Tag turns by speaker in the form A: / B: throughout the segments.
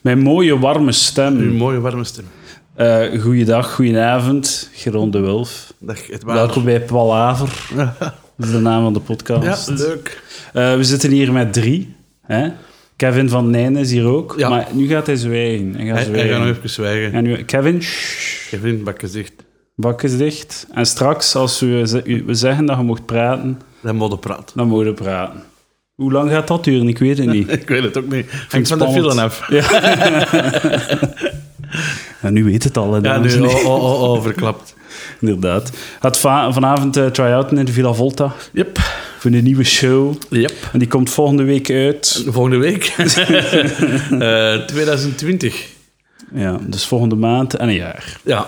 A: Mijn mooie, warme stem.
B: Uw mooie warme stem.
A: Eh goeiedag, goedenavond, Geron de Wulf.
B: Dag, het
A: Welkom bij Palaver. Dat is de naam van de
B: Ja,
A: podcast.
B: leuk.
A: Eh, we zitten hier met drie. Hè? Kevin van Nijn is hier ook.
B: Ja.
A: Maar nu gaat hij zwijgen. Hij gaat
B: Hij, hij
A: zwijgen.
B: gaat nog even zwijgen.
A: En nu, Kevin, shh,
B: Kevin, bak gezicht.
A: bak is dicht. En straks, als we, ze- u- we zeggen dat je mocht praten,
B: Dat modder praat.
A: dan mogen we praten. Hoe lang gaat dat duren? Ik weet het niet.
B: Ik weet het ook niet. Vind van de
A: spannend.
B: file af.
A: En nu weet het al, hè,
B: Ja,
A: dames
B: nu,
A: en
B: oh,
A: heren.
B: oh, oh, oh, verklapt.
A: Inderdaad. Gaat va- vanavond eh, try-outen in de Villa Volta
B: Yep,
A: voor een nieuwe show.
B: yep.
A: En die komt volgende week uit.
B: Volgende week. Eh, 2020.
A: Ja, dus volgende maand en een jaar.
B: Ja.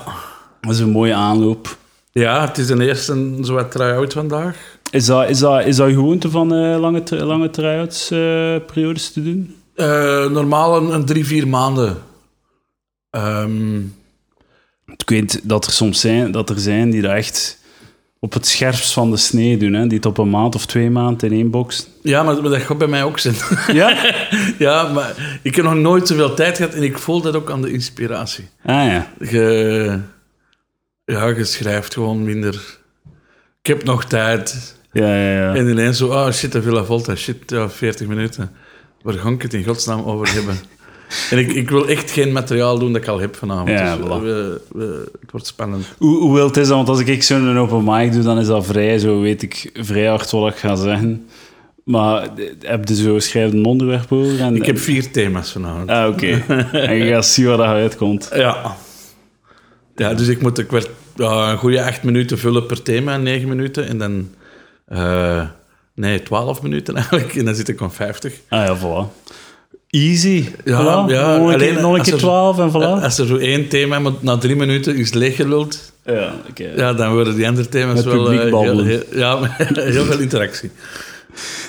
A: Dat is een mooie aanloop.
B: Ja, het is een eerste zowat try-out vandaag.
A: Is dat, is dat, is dat je gewoonte van eh, lange, tr- lange try-outs eh, periodes te doen?
B: Eh, normaal een, een drie, vier maanden. Ehm,
A: Ik weet dat er soms zijn, dat er zijn die dat echt op het scherpst van de snee doen. Hè? Die het op een maand of twee maanden in één box.
B: ja, maar, maar dat gaat bij mij ook zijn.
A: Ja?
B: ja, maar ik heb nog nooit zoveel tijd gehad en ik voel dat ook aan de inspiratie.
A: Ah ja.
B: Je, ja, je schrijft gewoon minder. Ik heb nog tijd.
A: Ja, ja, ja.
B: En ineens zo, ah shit, de Villa Volta, shit, ja, 40 minuten. Waar ga ik het in godsnaam over hebben? en ik, ik wil echt geen materiaal doen dat ik al heb vanavond.
A: Ja,
B: dus
A: voilà.
B: we, we- het wordt spannend.
A: Hoe, hoe wild is dat? Want als ik zo'n open mic doe, dan is dat vrij, zo weet ik vrij hard wat ik ga zeggen. Maar eh, heb je zo schrijf een onderwerp over? En,
B: Ik heb vier thema's vanavond.
A: Ah, oké. en je gaat zien waar dat uitkomt.
B: Ja. Ja, dus ik moet een, kwart, ja, een goede acht minuten vullen per thema, negen minuten. En dan... eh, nee, twaalf minuten eigenlijk. En dan zit ik aan vijftig.
A: Ah ja, voilà. Easy.
B: Ja,
A: Voilà.
B: ja,
A: nog een
B: alleen
A: keer, nog een
B: als
A: keer
B: er-
A: 12 en
B: Eh,
A: voilà.
B: Als er zo één thema moet- na drie minuten is leeggeluld,
A: Ja, oké.
B: ja, dan worden die andere thema's
A: Met
B: wel...
A: publiek
B: eh,
A: babbelen.
B: heel, heel- ja, heel veel interactie.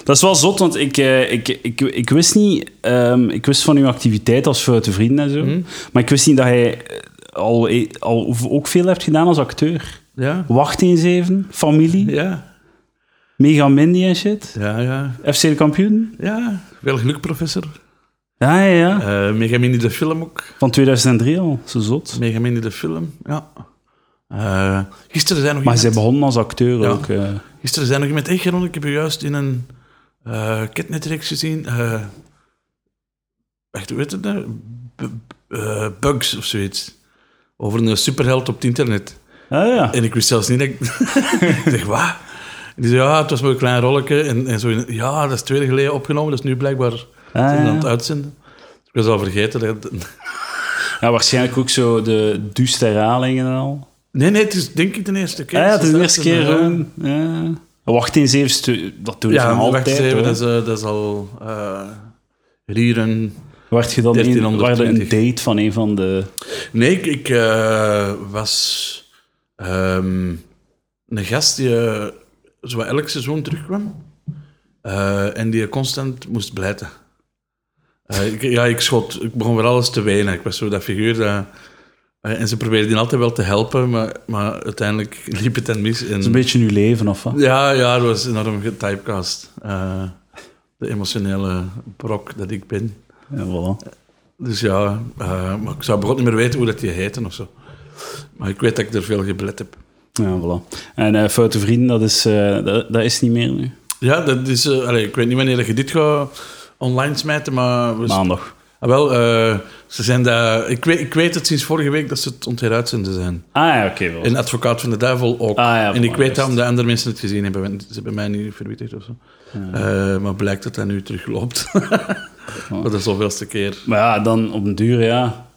A: Dat is wel zot, want ik, eh, ik, ik, ik wist niet... ehm, ik wist van uw activiteit als Foute Vrienden en zo. Maar ik wist niet dat jij eh, al, eh, al ook veel hebt gedaan als acteur.
B: Ja,
A: Wacht eens even, familie,
B: ja,
A: Mega Mindy en shit.
B: ja, ja.
A: FC de kampioen.
B: Ja, veel geluk, professor.
A: Ja, ja, ja.
B: Eh Megamini de film ook.
A: Van 2003 al, zo zot.
B: Megamini de film, ja. Eh, gisteren zijn nog
A: Maar zij
B: iemand...
A: begonnen als acteur
B: Ja.
A: ook. eh.
B: Gisteren zijn nog iemand... Hey, Geron, ik heb je juist in een eh ketnetreeks gezien. eh wacht, hoe heet het nou? B- b- eh, bugs of zoiets. Over een superheld op het internet.
A: Ah ja.
B: En ik wist zelfs niet dat ik... ik zeg, wat? En die zei, ja, het was maar een klein rolletje. En, en zo, in- ja, dat is twee jaar geleden opgenomen. Dat is nu blijkbaar
A: Ah,
B: aan het
A: ja.
B: uitzenden. Dus ik was al vergeten. Dat...
A: Ja, waarschijnlijk ook zo de duiste herhalingen en al.
B: Nee, nee, het is denk ik de eerste keer.
A: Ah, ja, het is de eerste
B: Ja,
A: keer. gewoon, Ja. Wacht eens even, stu- dat doen ze
B: Ja,
A: nog
B: wacht eens
A: altijd.
B: even.
A: hoor.
B: Dat is, eh, dat is al... eh Rieren.
A: Werd je dan een,
B: 1320.
A: werd er een date van een van de...
B: Nee, ik, ik, eh, was ehm, een gast die eh, zo wat elk seizoen terugkwam eh, en die constant moest blijten. Eh, ik, ja, ik schot, ik begon weer alles te wenen. Ik was zo dat figuur dat, eh, en ze probeerden die altijd wel te helpen, maar, maar uiteindelijk liep het dan mis.
A: Een
B: En,
A: beetje nu leven, of wat?
B: ja, ja, dat was enorm getypecast. Eh, de emotionele brok dat ik ben.
A: Ja, voilà.
B: Dus ja, eh, maar ik zou bijvoorbeeld niet meer weten hoe dat die heten of zo. Maar ik weet dat ik er veel geblet heb.
A: Ja, voilà. En eh Foute Vrienden, dat is, eh, dat, dat is niet meer nu.
B: Ja, dat is, eh, allee, ik weet niet wanneer dat je dit gaat online smijten, maar... we-
A: Maandag.
B: Ah, wel, eh, ze zijn daar... Ik weet, ik weet het sinds vorige week dat ze het ontheruitzenden zijn.
A: Ah ja, oké. voilà.
B: En Advocaat van de Duivel ook.
A: Ah, ja,
B: en
A: maar
B: ik weet
A: juist.
B: dat omdat andere mensen het gezien hebben. want Ze hebben mij niet verwittigd of zo. Eh, maar blijkt dat dat nu terugloopt. maar dat is de zoveelste keer.
A: Maar ja, dan op een duur, ja.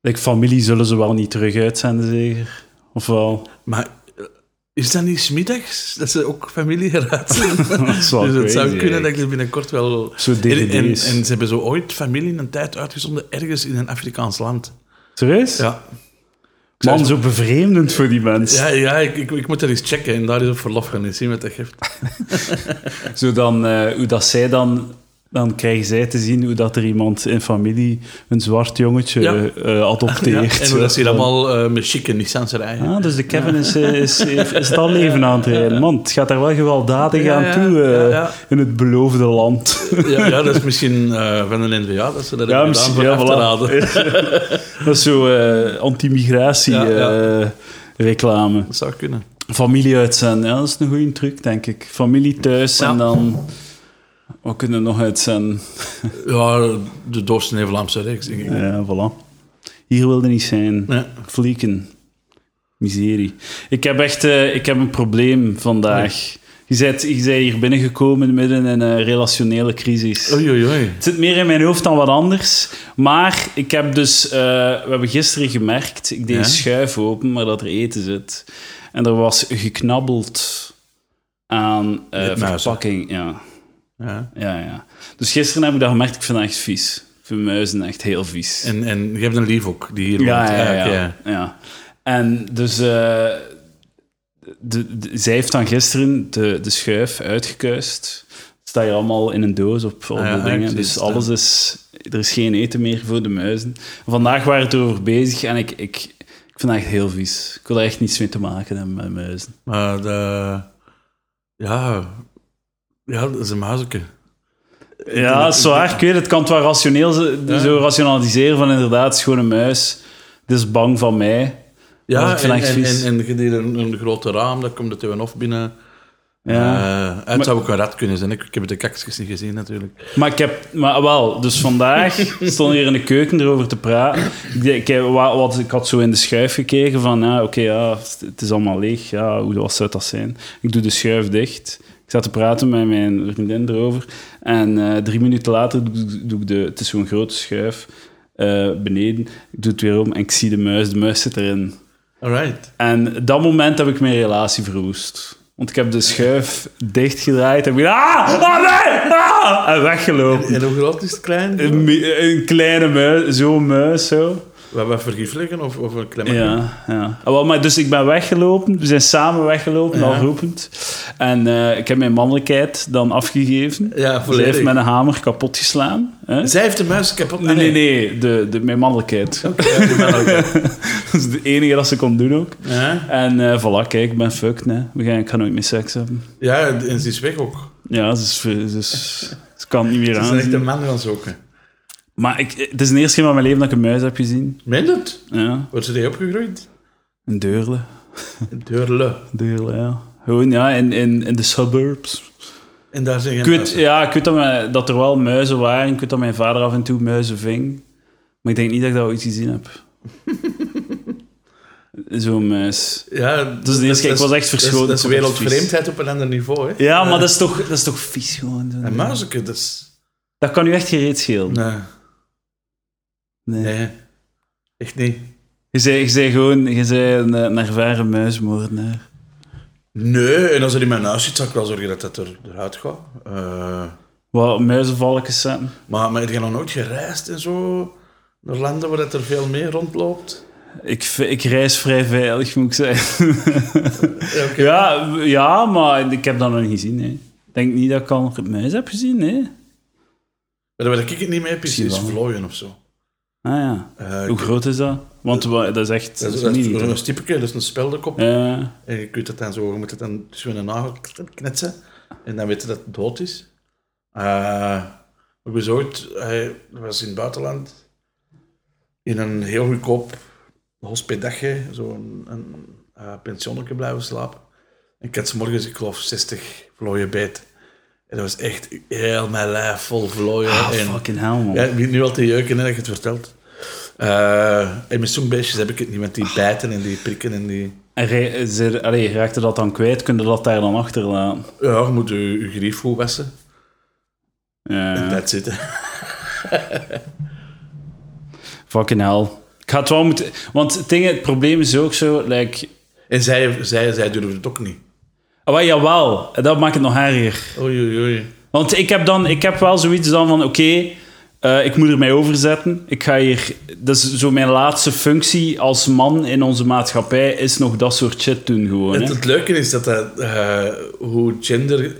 A: Ik, familie zullen ze wel niet terug uitzenden, zeker? Of wel?
B: Maar eh, is dat niet smiddags? Dat ze ook familie eruit zijn?
A: Dat is wel
B: dus het
A: crazy,
B: zou kunnen dat
A: eigenlijk.
B: ik er binnenkort wel...
A: Zo
B: En, en, en
A: DVD's.
B: ze hebben zo ooit familie in een tijd uitgezonden ergens in een Afrikaans land.
A: Serieus?
B: Ja,
A: Man, zo bevreemdend voor die mensen.
B: ja, ja ik, ik, ik moet dat eens checken en daar is op verlof gaan en zien wat dat geeft.
A: Zo dan, eh, hoe dat zij dan dan krijgen zij te zien hoe dat er iemand in familie een zwart jongetje
B: Ja.
A: eh, adopteert.
B: en hoe dat ze hier allemaal eh, met chique Nissans rijden.
A: Ah, dus de Kevin is, eh, is, is, is het al leven aan het rijden. Man, het gaat daar wel gewelddadig
B: Ja,
A: aan
B: ja,
A: toe eh,
B: ja, ja.
A: in het beloofde land.
B: Ja, ja, dat is misschien eh, van de NVA dat ze dat
A: Ja,
B: hebben gedaan
A: misschien,
B: voor
A: ja,
B: af te raden.
A: voilà. Dat is zo eh, anti-migratie
B: Ja, ja.
A: eh, reclame.
B: Dat zou kunnen.
A: Familie uitzenden, ja, dat is een goede truc, denk ik. Familie thuis en
B: Ja.
A: dan... Wat kunnen we nog uitzenden?
B: Ja, de doorsnee Vlaamse reeks, denk ik.
A: Ja, voilà. Hier wilde niet zijn.
B: Ja.
A: Vlieken. Miserie. Ik heb echt eh, ik heb een probleem vandaag. Je bent, je bent hier binnengekomen midden in een relationele crisis.
B: Oei, oei, oei.
A: Het zit meer in mijn hoofd dan wat anders. Maar ik heb dus... eh, we hebben gisteren gemerkt, ik deed
B: Ja?
A: een schuif open, maar dat er eten zit. En er was geknabbeld aan eh,
B: Witmuizen.
A: verpakking. Ja.
B: Ja.
A: Ja, ja. Dus gisteren heb ik dat gemerkt. Ik vind dat echt vies. Ik vind muizen echt heel vies.
B: En, en je hebt een lief ook, die hier
A: ja,
B: woont.
A: ja, ja,
B: oké.
A: ja. ja. En dus... eh, de, de- zij heeft dan gisteren de, de schuif uitgekuist. Het staat hier allemaal in een doos op
B: Ah, ja,
A: allemaal
B: ik
A: dingen.
B: zie
A: Dus
B: het,
A: alles is... Er is geen eten meer voor de muizen. Vandaag waren we het erover bezig en ik... ik ik vind dat echt heel vies. Ik wil er echt niets mee te maken hebben met muizen.
B: Maar de, ja, ja, dat is een mazoeke.
A: Ja, dat is zwaar. Ik weet het, kan het wel rationeel z- zo rationaliseren van inderdaad, het is gewoon een muis. Het is bang van mij.
B: Ja,
A: Dat ik
B: en,
A: vind
B: en,
A: echt
B: en,
A: vies.
B: en je deed een, een grote raam, daar komt het even of binnen.
A: Ja.
B: Eh, het zou ook een rat kunnen zijn. Ik, ik heb het de kakjes niet gezien, natuurlijk.
A: Maar ik heb, maar wel, dus vandaag stond hier in de keuken erover te praten. Ik, denk, ik, heb wa- wat, ik had zo in de schuif gekeken van, ja, oké, ja, het is allemaal leeg. Ja, hoe wat zou dat zijn? Ik doe de schuif dicht. Ik zat te praten met mijn vriendin erover. En eh, drie minuten later doe, doe ik de, het is zo'n grote schuif, eh, beneden. Ik doe het weer om en ik zie de muis, de muis zit erin.
B: Alright.
A: En dat moment heb ik mijn relatie verwoest. Want ik heb de schuif dichtgedraaid en ik ben, ah, ah, nee, ah, en weggelopen.
B: En hoe groot is het klein?
A: Een, mu- een kleine muis, zo'n muis, zo.
B: Wat, wat vergif liggen of, of een klem?
A: Ja, ja. Ah, wel, maar dus ik ben weggelopen, we zijn samen weggelopen,
B: Ja.
A: al roepend. En eh, ik heb mijn mannelijkheid dan afgegeven.
B: Ja,
A: Zij
B: volledig.
A: heeft met een hamer kapot geslaan. Hè?
B: Zij heeft de muis kapot. Ah,
A: Nee, nee, nee, de, de, mijn mannelijkheid.
B: Ja, die man ook.
A: dat is de enige dat ze kon doen ook.
B: Ja.
A: En eh voilà, kijk, ik ben fucked, hè. We gaan, ik ga nooit meer seks hebben.
B: ja, en ze is weg ook.
A: Ja, ze, is, ze, is- ze kan het niet meer
B: Ze is een
A: aan.
B: echte man gaan zoeken.
A: Maar ik, het is de eerste keer in mijn leven dat ik een muis heb gezien.
B: Meen het?
A: Ja,
B: Wordt ze die opgegroeid?
A: een deurle.
B: Deurle.
A: Deel, ja. Gewoon, ja, in, in, in de suburbs.
B: En daar zijn
A: Ik weet, ja, ik weet dat, mijn- dat er wel muizen waren. Ik weet dat mijn vader af en toe muizen ving. Maar ik denk niet dat ik dat ooit gezien heb. Zo'n muis.
B: Ja,
A: Dus de eerste keer, ik was echt verschoten.
B: Dat is, dat
A: Ik
B: is
A: vond het
B: wereldvreemdheid op een ander niveau. Hè?
A: Ja, maar dat is toch, dat is toch vies gewoon. Zo.
B: Een muizenke, dat is...
A: Dat kan u echt geen reet schelen.
B: Nee,
A: Nee.
B: nee. Echt niet.
A: Je zei, je zei gewoon je zei een, eh, een ervaren muismoordenaar.
B: Nee, en als er in mijn huis zit, zou ik wel zorgen dat dat er, eruit gaat. Eh,
A: Wat muizenvalkjes zetten.
B: maar, maar heb je nog nooit gereisd en zo? Naar landen waar dat er veel meer rondloopt?
A: Ik, v- ik reis vrij veilig, moet ik zeggen.
B: Ja, oké.
A: Ja, w- ja, maar ik heb dat nog niet gezien. hè. Ik denk niet dat ik al een muis heb gezien. hè.
B: Maar waar ik het niet mee heb, is,
A: Misschien
B: is
A: wel.
B: vlooien of zo.
A: Ah ja.
B: Eh,
A: Hoe groot is dat? Want wa- dat is echt...
B: dat is,
A: dat
B: dat
A: is
B: is
A: niet-
B: een stippetje, dat is een speldekop.
A: Eh,
B: En je kunt het dan zo, je moet het dan tussen een nagel knetsen. En dan weet je dat het dood is. Eh, ik was ooit, eh, dat was in het buitenland, in een heel goedkoop hospedagje, zo'n een, eh, pensionnetje blijven slapen. En ik had 's morgens, ik geloof, 60 vlooien beet. En dat was echt heel mijn lijf vol vlooien.
A: ah,
B: en,
A: fucking hell, man.
B: ja, ik begin nu al te jeuken hè, dat je het vertelt. Eh, en met zo'n beestjes heb ik het niet, want die bijten en die prikken en die...
A: En rij- is er- allee, raakte dat dan kwijt? Kun je dat daar dan achterlaten?
B: Ja, je moet je, je grief goed wassen.
A: Ja,
B: En dat zitten.
A: fucking hell. Ik ga het wel moeten... Want het, ding, het probleem is ook zo, like...
B: En zij, zij, zij durven het ook niet.
A: Ah, wel, jawel, dat maakt het nog erger.
B: Oei, oei, oei.
A: Want ik heb, dan, ik heb wel zoiets dan van, oké, eh, ik moet er mij overzetten. Ik ga hier... Dat is zo mijn laatste functie als man in onze maatschappij, is nog dat soort shit doen gewoon. hè.
B: Het, het leuke is dat, dat eh, hoe gender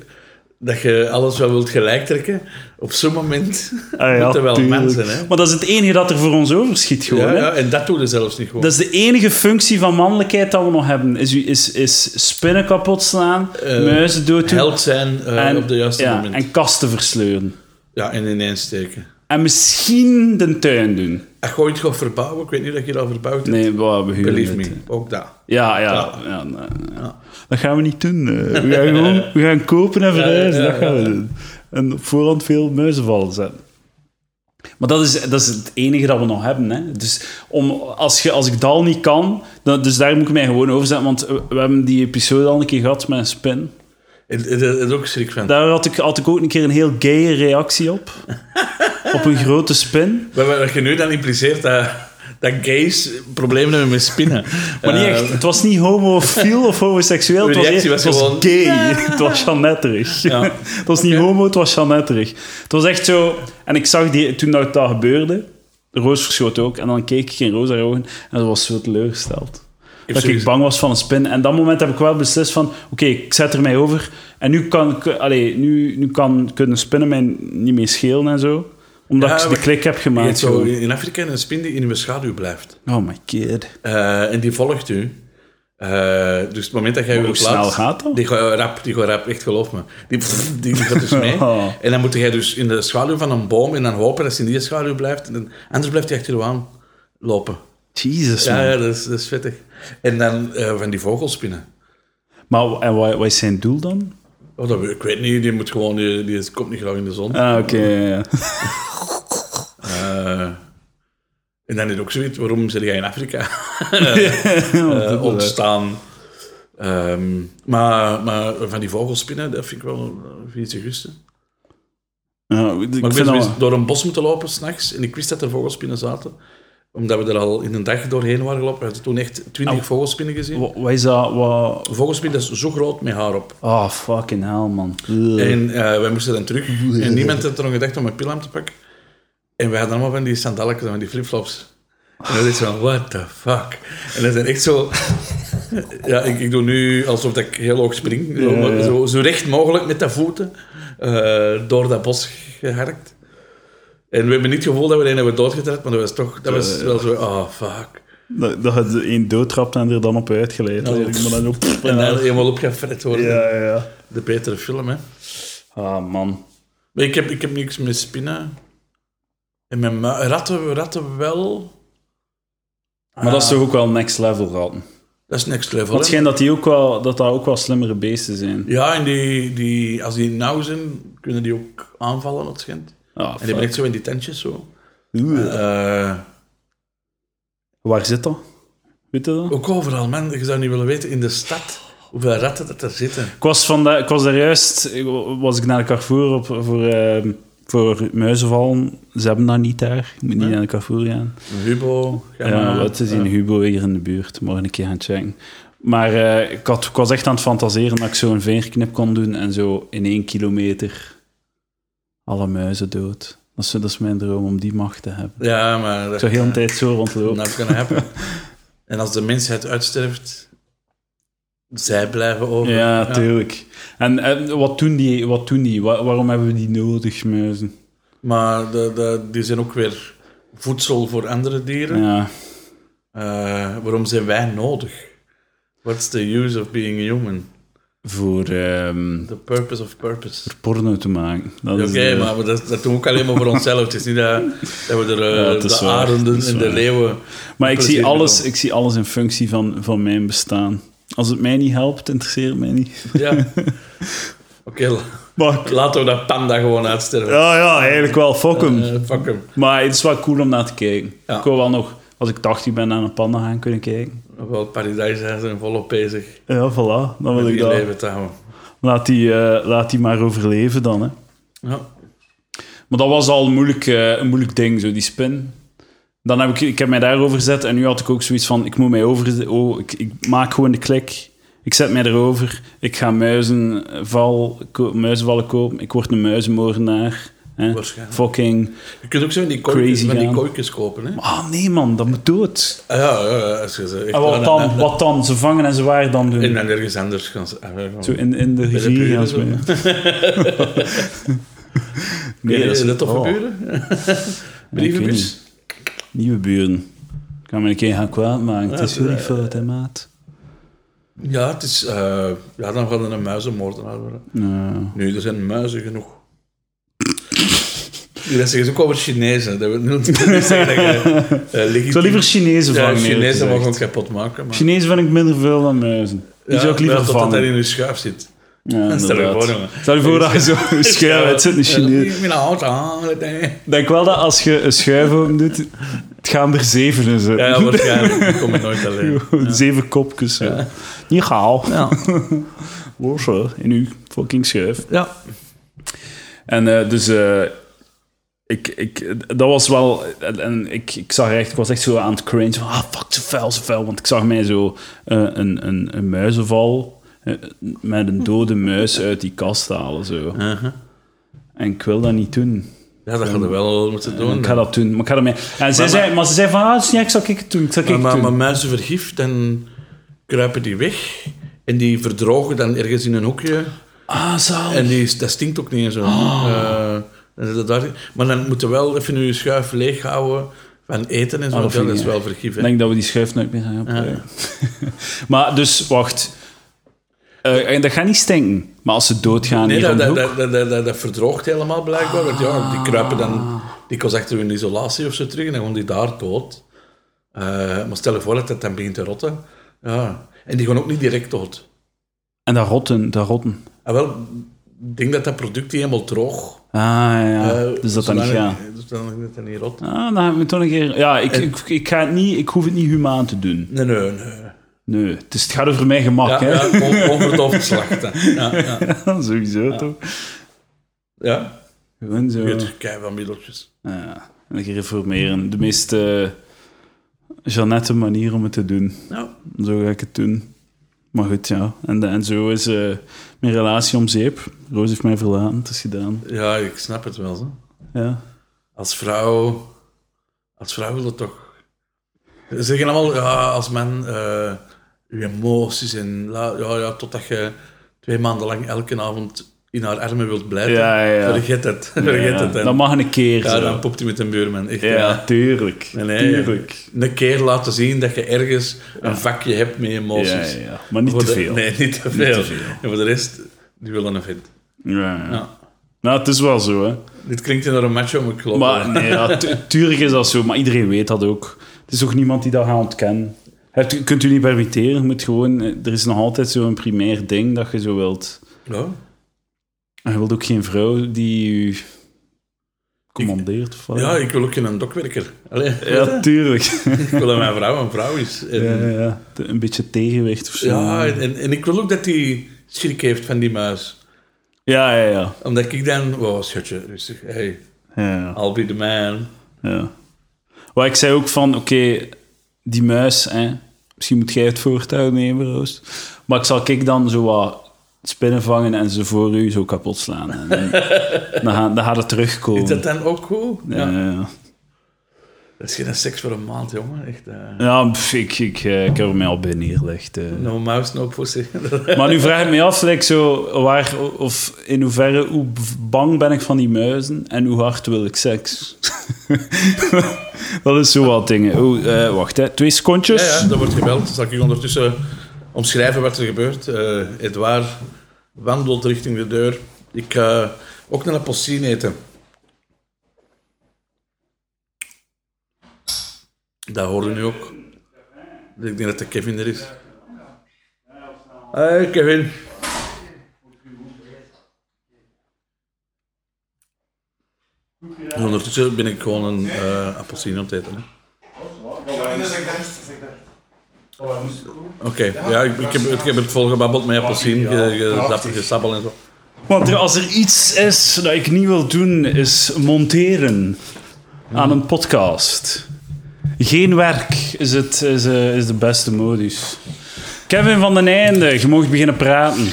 B: dat je alles wel wilt gelijk trekken, op zo'n moment
A: Ah, ja,
B: moeten wel
A: tuurlijk.
B: mensen. Hè?
A: Maar dat is het enige dat er voor ons overschiet gewoon.
B: Ja,
A: hè.
B: ja, en dat doe je zelfs niet gewoon.
A: Dat is de enige functie van mannelijkheid dat we nog hebben. Is, is, is spinnen kapot slaan,
B: Eh,
A: muizen dood doen
B: Held zijn eh, op de juiste
A: ja,
B: moment.
A: en kasten versleuren.
B: Ja, en ineens steken.
A: En misschien de tuin doen.
B: Als je ooit gaat verbouwen, ik weet niet dat je dat verbouwt hebt.
A: Nee, wow, we huren
B: Believe
A: het.
B: me, ook dat.
A: Ja, ja.
B: Ja.
A: ja, nou, ja. Dat gaan we niet doen. eh. We gaan, gewoon, we gaan kopen en verhuizen.
B: ja,
A: dat gaan we
B: ja.
A: doen. En op voorhand veel muizenvallen zetten. Maar dat is, dat is het enige dat we nog hebben. Hè. Dus om, als, je, als ik dat al niet kan, dan, dus daar moet ik mij gewoon over zetten. Want we hebben die episode al een keer gehad met een spin.
B: En- en- en Daar heb ik ook schrik van.
A: Daar had ik, had ik ook een keer een heel gaye reactie op. op een grote spin.
B: Maar wat je nu dan impliceert, dat, dat gays problemen hebben met spinnen.
A: Maar niet
B: Eh,
A: echt, het was niet homofiel of homoseksueel. Het
B: Uw
A: was,
B: reactie
A: echt-
B: was
A: het was
B: gewoon-
A: gay. Het was janetterig.
B: Ja.
A: het was niet
B: Oké.
A: homo, het was janetterig. Het was echt zo... En ik zag die, toen dat, dat gebeurde... Roos verschoot ook. En dan keek ik in Roos haar ogen. En ze was zo teleurgesteld. Dat ik
B: sowieso-
A: bang was van een spin. En dat moment heb ik wel beslist van... Oké, ik zet er mij over. En nu kan... ik- Allee, nu, nu kan, kunnen spinnen mij niet meer schelen en zo. Omdat
B: Ja,
A: ik de
B: maar-
A: klik heb
B: je
A: gemaakt.
B: hebt zo
A: gewoon.
B: in in Afrika een spin die in uw schaduw blijft.
A: Oh my god.
B: Eh, en die volgt u. Eh, dus het moment dat jij
A: Maar
B: weer
A: hoe snel gaat dat?
B: Die gaat rap, die gaat rap, echt geloof me. Die, die, die gaat dus mee.
A: Oh.
B: En dan moet jij dus in de schaduw van een boom en dan hopen dat ze in die schaduw blijft. En dan- anders blijft hij achter je aan lopen.
A: Jesus,
B: Ja,
A: man.
B: ja dat, is, dat is vettig. En dan eh, van die vogelspinnen.
A: Maar en wat, wat is zijn doel dan?
B: Oh, dat, ik weet niet, die, moet gewoon, die, die komt niet graag in de zon.
A: Ah, oké. ja, ja.
B: Eh, en dan is ook zoiets, waarom zit jij in Afrika
A: Ja,
B: eh,
A: dat is-
B: ontstaan? Ehm, maar, maar van die vogelspinnen, dat vind ik wel eh, vind ik gusten.
A: Ja, Nou, ik
B: Maar
A: vind
B: ik ben
A: dat-
B: zoiets door een bos moeten lopen s'nachts en ik wist dat er vogelspinnen zaten omdat we er al in een dag doorheen waren gelopen. We hadden toen echt twintig vogelspinnen gezien.
A: wa- Wat is dat? Wat...
B: Een vogelspin dat is zo groot met haar op.
A: Oh, fucking hell, man. Ugh.
B: En eh, wij moesten dan terug. En niemand had er nog gedacht om een pil aan te pakken. En wij hadden allemaal van die sandalen en van die flipflops. En dan is van, what the fuck? En dat zijn echt zo... ja, ik, ik doe nu alsof dat ik heel hoog spring. Zo-
A: Ja, ja.
B: Zo, zo recht mogelijk met de voeten eh, door dat bos geharkt. En we hebben niet het gevoel dat we een hebben doodgetrapt, maar dat was toch... Dat was wel zo, oh, fuck.
A: Dat, dat het één doodtrapt en er dan op uitgeleid.
B: Ja.
A: eigenlijk, maar dan ook-
B: En dan helemaal opgefret worden.
A: Ja, ja, ja.
B: De betere film, hè.
A: Ah, man.
B: Maar ik heb, ik heb niks met spinnen. En met mu- ratten, ratten wel.
A: Maar dat is toch ook wel next level, ratten.
B: Dat is next level.
A: Want het
B: hè?
A: schijnt dat, die ook wel, dat dat ook wel slimmere beesten zijn.
B: Ja, en die, die, als die nauw zijn, kunnen die ook aanvallen, dat schijnt. En
A: Ah,
B: die hebben
A: fuck.
B: echt zo in die tentjes zo.
A: Ugh.
B: Eh,
A: Waar zit dat? Weet je dat?
B: ook overal, man. Je zou niet willen weten in de stad hoeveel ratten dat er zitten.
A: Ik was, van de, ik was daar juist, ik wa- was ik naar de Carrefour op, voor, eh, voor muizenvallen. Ze hebben dat niet daar. Je moet niet
B: Nee.
A: naar de Carrefour gaan.
B: Een Hubo. ga
A: Ja,
B: maar-
A: wat is in Hubo hier in de buurt. Morgen een keer gaan checken. Maar eh, ik, had, ik was echt aan het fantaseren dat ik zo een vingerknip kon doen en zo in één kilometer alle muizen dood. Dat is, dat is mijn droom om die macht te hebben.
B: Ja, maar... Dat,
A: Ik zou heel een tijd zo rondlopen.
B: Not gonna happen. en als de mensheid uitsterft, zij blijven over.
A: Ja, tuurlijk. En, en wat doen die? Wat doen die? Wa- waarom hebben we die nodig, muizen?
B: Maar de, de- die zijn ook weer voedsel voor andere dieren.
A: Ja,
B: Eh, waarom zijn wij nodig? What's the use of being human?
A: voor ehm,
B: The purpose of purpose.
A: porno te maken. Dat
B: Oké,
A: is eh, de-
B: maar we- dat, dat doen we ook alleen maar voor onszelf. Het is niet dat, dat we er eh,
A: Ja, het is
B: de
A: waar,
B: arenden
A: het is
B: en de
A: waar.
B: leeuwen...
A: Maar ik
B: plezier
A: zie,
B: mee
A: alles,
B: doen.
A: ik zie alles in functie van, van mijn bestaan. Als het mij niet helpt, interesseert het mij niet.
B: Ja. Oké, la-
A: Maar,
B: laten we dat panda gewoon uitsterven.
A: ja, ja, eigenlijk wel, fuck hem.
B: Eh, fuck hem.
A: maar het is wel cool om naar te kijken.
B: Ja.
A: Ik wil wel nog, als ik 80 ben, naar een panda gaan kunnen kijken.
B: Wel, paradijs zijn ze volop bezig
A: Ja, voilà, dan wil
B: met
A: ik
B: je
A: dat.
B: leven te houden.
A: Laat die, eh, laat die maar overleven dan, hè.
B: Ja.
A: Maar dat was al een moeilijk, eh, een moeilijk ding, zo die spin. Dan heb ik, ik heb mij daarover gezet en nu had ik ook zoiets van: ik moet mij over. Oh, ik, ik maak gewoon de klik. Ik zet mij erover. Ik ga muizenval, ko- muizenvallen kopen. Ik word een muizenmoordenaar. hè.
B: Waarschijnlijk.
A: Fucking...
B: Je kunt ook zo van die kooikjes,
A: Crazy
B: van die
A: gaan.
B: kooikjes kopen. Hè?
A: Ah, nee, man, dat moet dood.
B: Ah, ja, ja, ja, als je ze echt
A: En
B: aan-
A: Ah, wat dan?
B: aan-
A: Wat dan? Ze vangen en ze waar dan doen?
B: En dan ergens anders gaan ze... ah, ja, ja.
A: Mm. Zo in, in de
B: de
A: rivier
B: buren
A: gaan
B: zo.
A: springen.
B: Nee, dat is
A: een
B: dat toch
A: oh,
B: gebeuren?
A: ik weet
B: Brievenbus?
A: niet. Nieuwe buren. Ik kan me een keer gaan kwaad maken. het is
B: dat-
A: heel niet fout, hè, maat.
B: Ja, het is... eh, ja, dan gaan we een muizenmoordenaar worden.
A: Nou,
B: Nu, er zijn muizen genoeg. Die dat zeggen ze ook over Chinezen. Dat wil niet zeggen dat je, eh,
A: Ik zou liever Chinezen
B: ja,
A: vangen.
B: Chinezen
A: eerlijk
B: mogen
A: gezegd.
B: het kapot maken. Maar,
A: Chinezen vind ik minder veel dan muizen. Die zou ik
B: Ja,
A: liever
B: maar Totdat dat
A: vangen.
B: in je schuif zit.
A: Ja,
B: Stel je
A: inderdaad.
B: voor, jongen.
A: Stel je voor dat je zo'n schuif uit zit, een Chinees.
B: Ik ben oud, ah, nee.
A: Ik denk wel dat als je een schuif open doet, het gaan er zeven in
B: Ja,
A: zitten.
B: ja, waarschijnlijk. Ik kom er nooit alleen.
A: Zeven kopjes. Ja. Niet gaal. Ja. Los hoor, in uw fucking schuif.
B: Ja.
A: En eh, dus, eh, ik, ik, dat was wel... En, en ik, ik zag echt, ik was echt zo aan het cringe. Van, ah, fuck, zo vuil, zo vuil. Want ik zag mij zo eh, een, een, een muizenval eh, met een dode muis uit die kast halen. Zo. En ik wil dat niet doen.
B: Uh-huh. Ja, dat gaan we wel moeten doen.
A: Ik ga dat doen, maar ik ga ermee... En zij
B: Oh, maar-
A: zei, maar ze zei van, ah, het is niet erg, zal ik het doen, zal ik
B: Maar,
A: het
B: maar,
A: doen.
B: maar muizen vergift, dan kruipen die weg. En die verdrogen dan ergens in een hoekje.
A: ah, zalig.
B: En die, dat stinkt ook niet en zo.
A: Ah.
B: Eh, dan zit het daar- maar dan moeten we wel even je schuif leeg houden van eten en zo.
A: Ah, dat
B: want ja,
A: vind
B: dat
A: ik
B: is
A: niet
B: wel vergif. hè.
A: Ik denk dat we die schuif nooit meer gaan gebruiken.
B: Ah,
A: maar dus, wacht. Eh, en dat gaat niet stinken. Maar als ze doodgaan
B: Nee,
A: hier om
B: dat,
A: de
B: dat,
A: hoek... Ah.
B: dat, dat, dat- dat verdroogt helemaal blijkbaar. Want ja, die kruipen dan dikwijls achter hun isolatie of zo terug en dan gaan die daar dood. Eh, maar stel je voor dat dat dan begint te rotten. Ja. En die gaan ook niet direct dood.
A: En dat rotten, dat rotten.
B: En wel, ik denk dat dat product die helemaal droog...
A: Ah, ja. ja.
B: eh,
A: dus dat dan niet
B: zodanig-
A: gaat.
B: Zodanig dat dat niet rot.
A: Ah, dan hebben we toch een keer... Ja, ik, ik, ik, ga het niet, ik hoef het niet humaan te doen.
B: Nee, nee, nee.
A: Nee, het, is, het gaat over mijn gemak,
B: Ja,
A: hè.
B: ja, on- onverdoofd slachten. Ja, ja.
A: Sowieso, toch?
B: ja.
A: Gewoon zo. Ah,
B: Je hebt keihard middeltjes.
A: Ja, en ik reformeren. De meest eh Jeannette manier om het te doen.
B: Ja.
A: Zo ga ik het doen. Maar goed, ja. En, en zo is eh, mijn relatie om zeep. Roos heeft mij verlaten, het is gedaan.
B: ja, ik snap het wel. Zo.
A: Ja.
B: Als vrouw... Als vrouw wil het toch... Ze zeggen allemaal, ja, als man... eh je emoties en... la- Ja, ja, totdat je twee maanden lang elke avond in haar armen wilt blijven.
A: Ja, ja, ja.
B: Vergeet het. Vergeet
A: ja,
B: het. En,
A: Dat mag een keer
B: ja,
A: zo.
B: dan poept hij met een buurman. Echt,
A: ja,
B: ja.
A: tuurlijk.
B: Nee, nee,
A: tuurlijk.
B: Een keer laten zien dat je ergens een vakje hebt met emoties.
A: Ja, ja, ja. Maar niet
B: Voor
A: te
B: de-
A: veel.
B: Nee, niet te veel. En voor de rest, die willen een vent.
A: Ja, ja.
B: Ja.
A: Nou, het is wel zo, hè.
B: Dit klinkt naar een macho, maar ik geloof
A: Maar
B: wel.
A: nee, ja, tu- tuurlijk is dat zo. Maar iedereen weet dat ook. Het is ook niemand die dat gaat ontkennen. Hebt, u- kunt u niet permitteren. je Moet gewoon, eh, er is nog altijd zo'n primair ding dat je zo wilt.
B: Ja.
A: En je wilt ook geen vrouw die u commandeert. of wat.
B: Ja, ik wil ook geen dokwerker. Allee, weet
A: Ja,
B: je?
A: tuurlijk.
B: ik wil dat mijn vrouw een vrouw is. En,
A: Ja,
B: ja,
A: ja. Een beetje tegenwicht of zo.
B: en, en ik wil ook dat die schrik heeft van die muis.
A: ja, ja. ja.
B: Omdat ik dan... Wow, schatje, rustig. Hey,
A: ja, ja.
B: I'll be the man.
A: ja. Maar ik zei ook van, oké, die muis, hè, misschien moet jij het voortouw nemen, Roos. Maar ik zal kijk dan zo wat spinnen vangen en ze voor u zo kapot slaan. En, en dan, gaan- dan gaat het terugkomen.
B: Is dat dan ook cool?
A: Ja,
B: Ja.
A: ja, ja.
B: Dat is geen seks voor een maand, jongen. Echt, eh
A: Ja, pff, ik, ik, eh, ik heb er mij al binnen neergelegd. eh.
B: No mouse, no pussy.
A: Maar nu vraag ik me af, like, zo, waar, of in hoeverre, hoe bang ben ik van die muizen en hoe hard wil ik seks? dat is zo wat dingen. Oh, eh, wacht, hè. twee
B: ja,
A: secontjes.
B: ja, dat wordt gebeld. Zal ik ondertussen omschrijven wat er gebeurt. Eh Edouard wandelt richting de deur. Ik ga ook naar een postine eten. Dat hoorde nu ook. Ik denk dat de Kevin er is. Hey Kevin. En Ondertussen ben ik gewoon een eh appelsine aan het eten. hè. Oké, ja, ik, ik, heb, ik heb het volgebabbeld met appelsien, ge- ge- zap- gesabbel en zo.
A: Want er- als er iets is dat ik niet wil doen, is monteren aan een podcast. Geen werk is, het, is, eh, is de beste modus. Kevin van den Einde, je mag beginnen praten.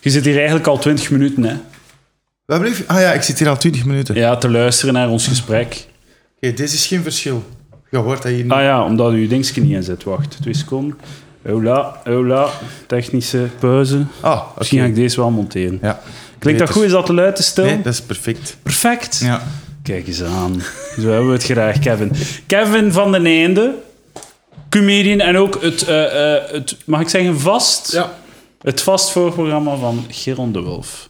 A: Je zit hier eigenlijk al 20 minuten, hè?
C: Wat bleef? Ah ja, ik zit hier al 20 minuten.
A: Ja, te luisteren naar ons gesprek.
C: Oké, dit is geen verschil. Je hoort dat hier niet.
A: Ah ja, omdat u uw dingetje niet inzet. Wacht, twee seconden. Hola, hola. Technische pauze.
C: Ah, oké.
A: Misschien ga ik deze wel monteren.
C: Ja.
A: Klinkt dat
C: Nee,
A: goed? Is dat te luid te stil?
C: Nee, dat is perfect.
A: Perfect.
C: Ja.
A: Kijk eens aan. Zo hebben we het graag, Kevin. Kevin van den Einde. Comedian en ook het, eh, eh, het mag ik zeggen, vast...
B: Ja.
A: Het vast voorprogramma van Geron de Wolf.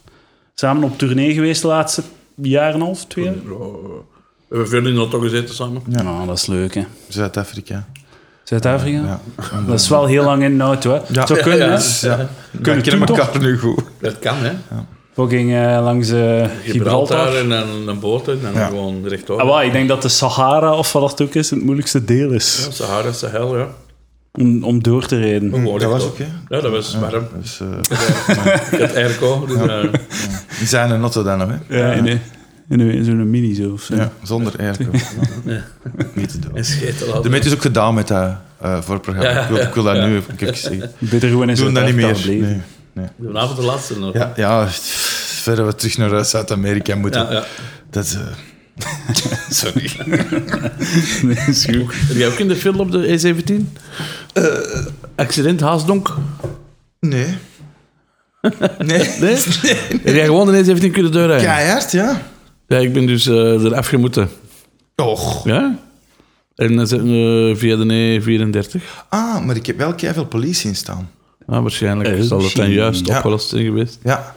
A: Samen op tournee geweest de laatste jaar en een half, twee jaar?
B: eh, We hebben veel in de auto gezeten samen.
A: Ja, Nou, dat is leuk, hè.
C: Zuid-Afrika.
A: Zuid-Afrika?
C: Ja.
A: Dat is wel heel lang in nood, hè. Het zou kunnen,
B: ja,
A: hè.
B: dat is- ja.
C: Kunnen
A: het doen,
C: kennen elkaar nu goed.
B: Dat kan, hè.
A: Fucking eh, langs eh,
B: Gibraltar
A: Gibraltar.
B: en dan een boot en dan
C: Ja.
B: gewoon rechtdoor.
A: Ah, wel, ik denk dat de Sahara, of wat dat ook is, het moeilijkste deel is.
B: Ja, Sahara, Sahel, ja.
A: Om, om door te rijden.
B: Gewoon
C: Hm, dat was
B: rechtdoor.
C: ook,
B: Ja, dat was warm.
C: Dus, eh,
B: Het airco. Dus, eh,
C: die zijn een auto dan, hè?
A: Ja, in, een- in, een- in zo'n mini zo. Of zo.
C: Ja, zonder airco.
B: Ja.
C: Niet te doen.
B: en scheten
C: De
B: laten.
C: meid is ook gedaan met dat eh voorprogramma. Ik, wil, ik wil dat nu even ik heb gezegd.
A: Beter gewoon in
C: Doen dat niet
A: Zuid-Afrika
C: meer.
A: blijven.
C: Nee. Nee.
B: Vanavond de laatste nog.
C: Ja, ja, verder we terug naar eh, Zuid-Amerika moeten.
B: Ja, ja.
C: Dat is... eh, Sorry.
A: Nee, is goed.
B: Heb jij ook in de film op de E17?
C: Eh.
B: accident Haasdonk.
C: Nee. Nee.
B: Nee? Heb jij gewoon de E17 kunnen doorrijden?
C: Keihard, ja.
B: Ja, ik ben dus eh eraf gemoeten.
C: Och.
B: Ja? En dan zijn we via de E E34.
C: Ah, maar ik heb wel keiveel politie in staan.
B: Ah, waarschijnlijk
A: Eh,
B: zal dat dan
A: misschien,
B: juist
C: ja.
B: opgelost zijn geweest.
C: Ja.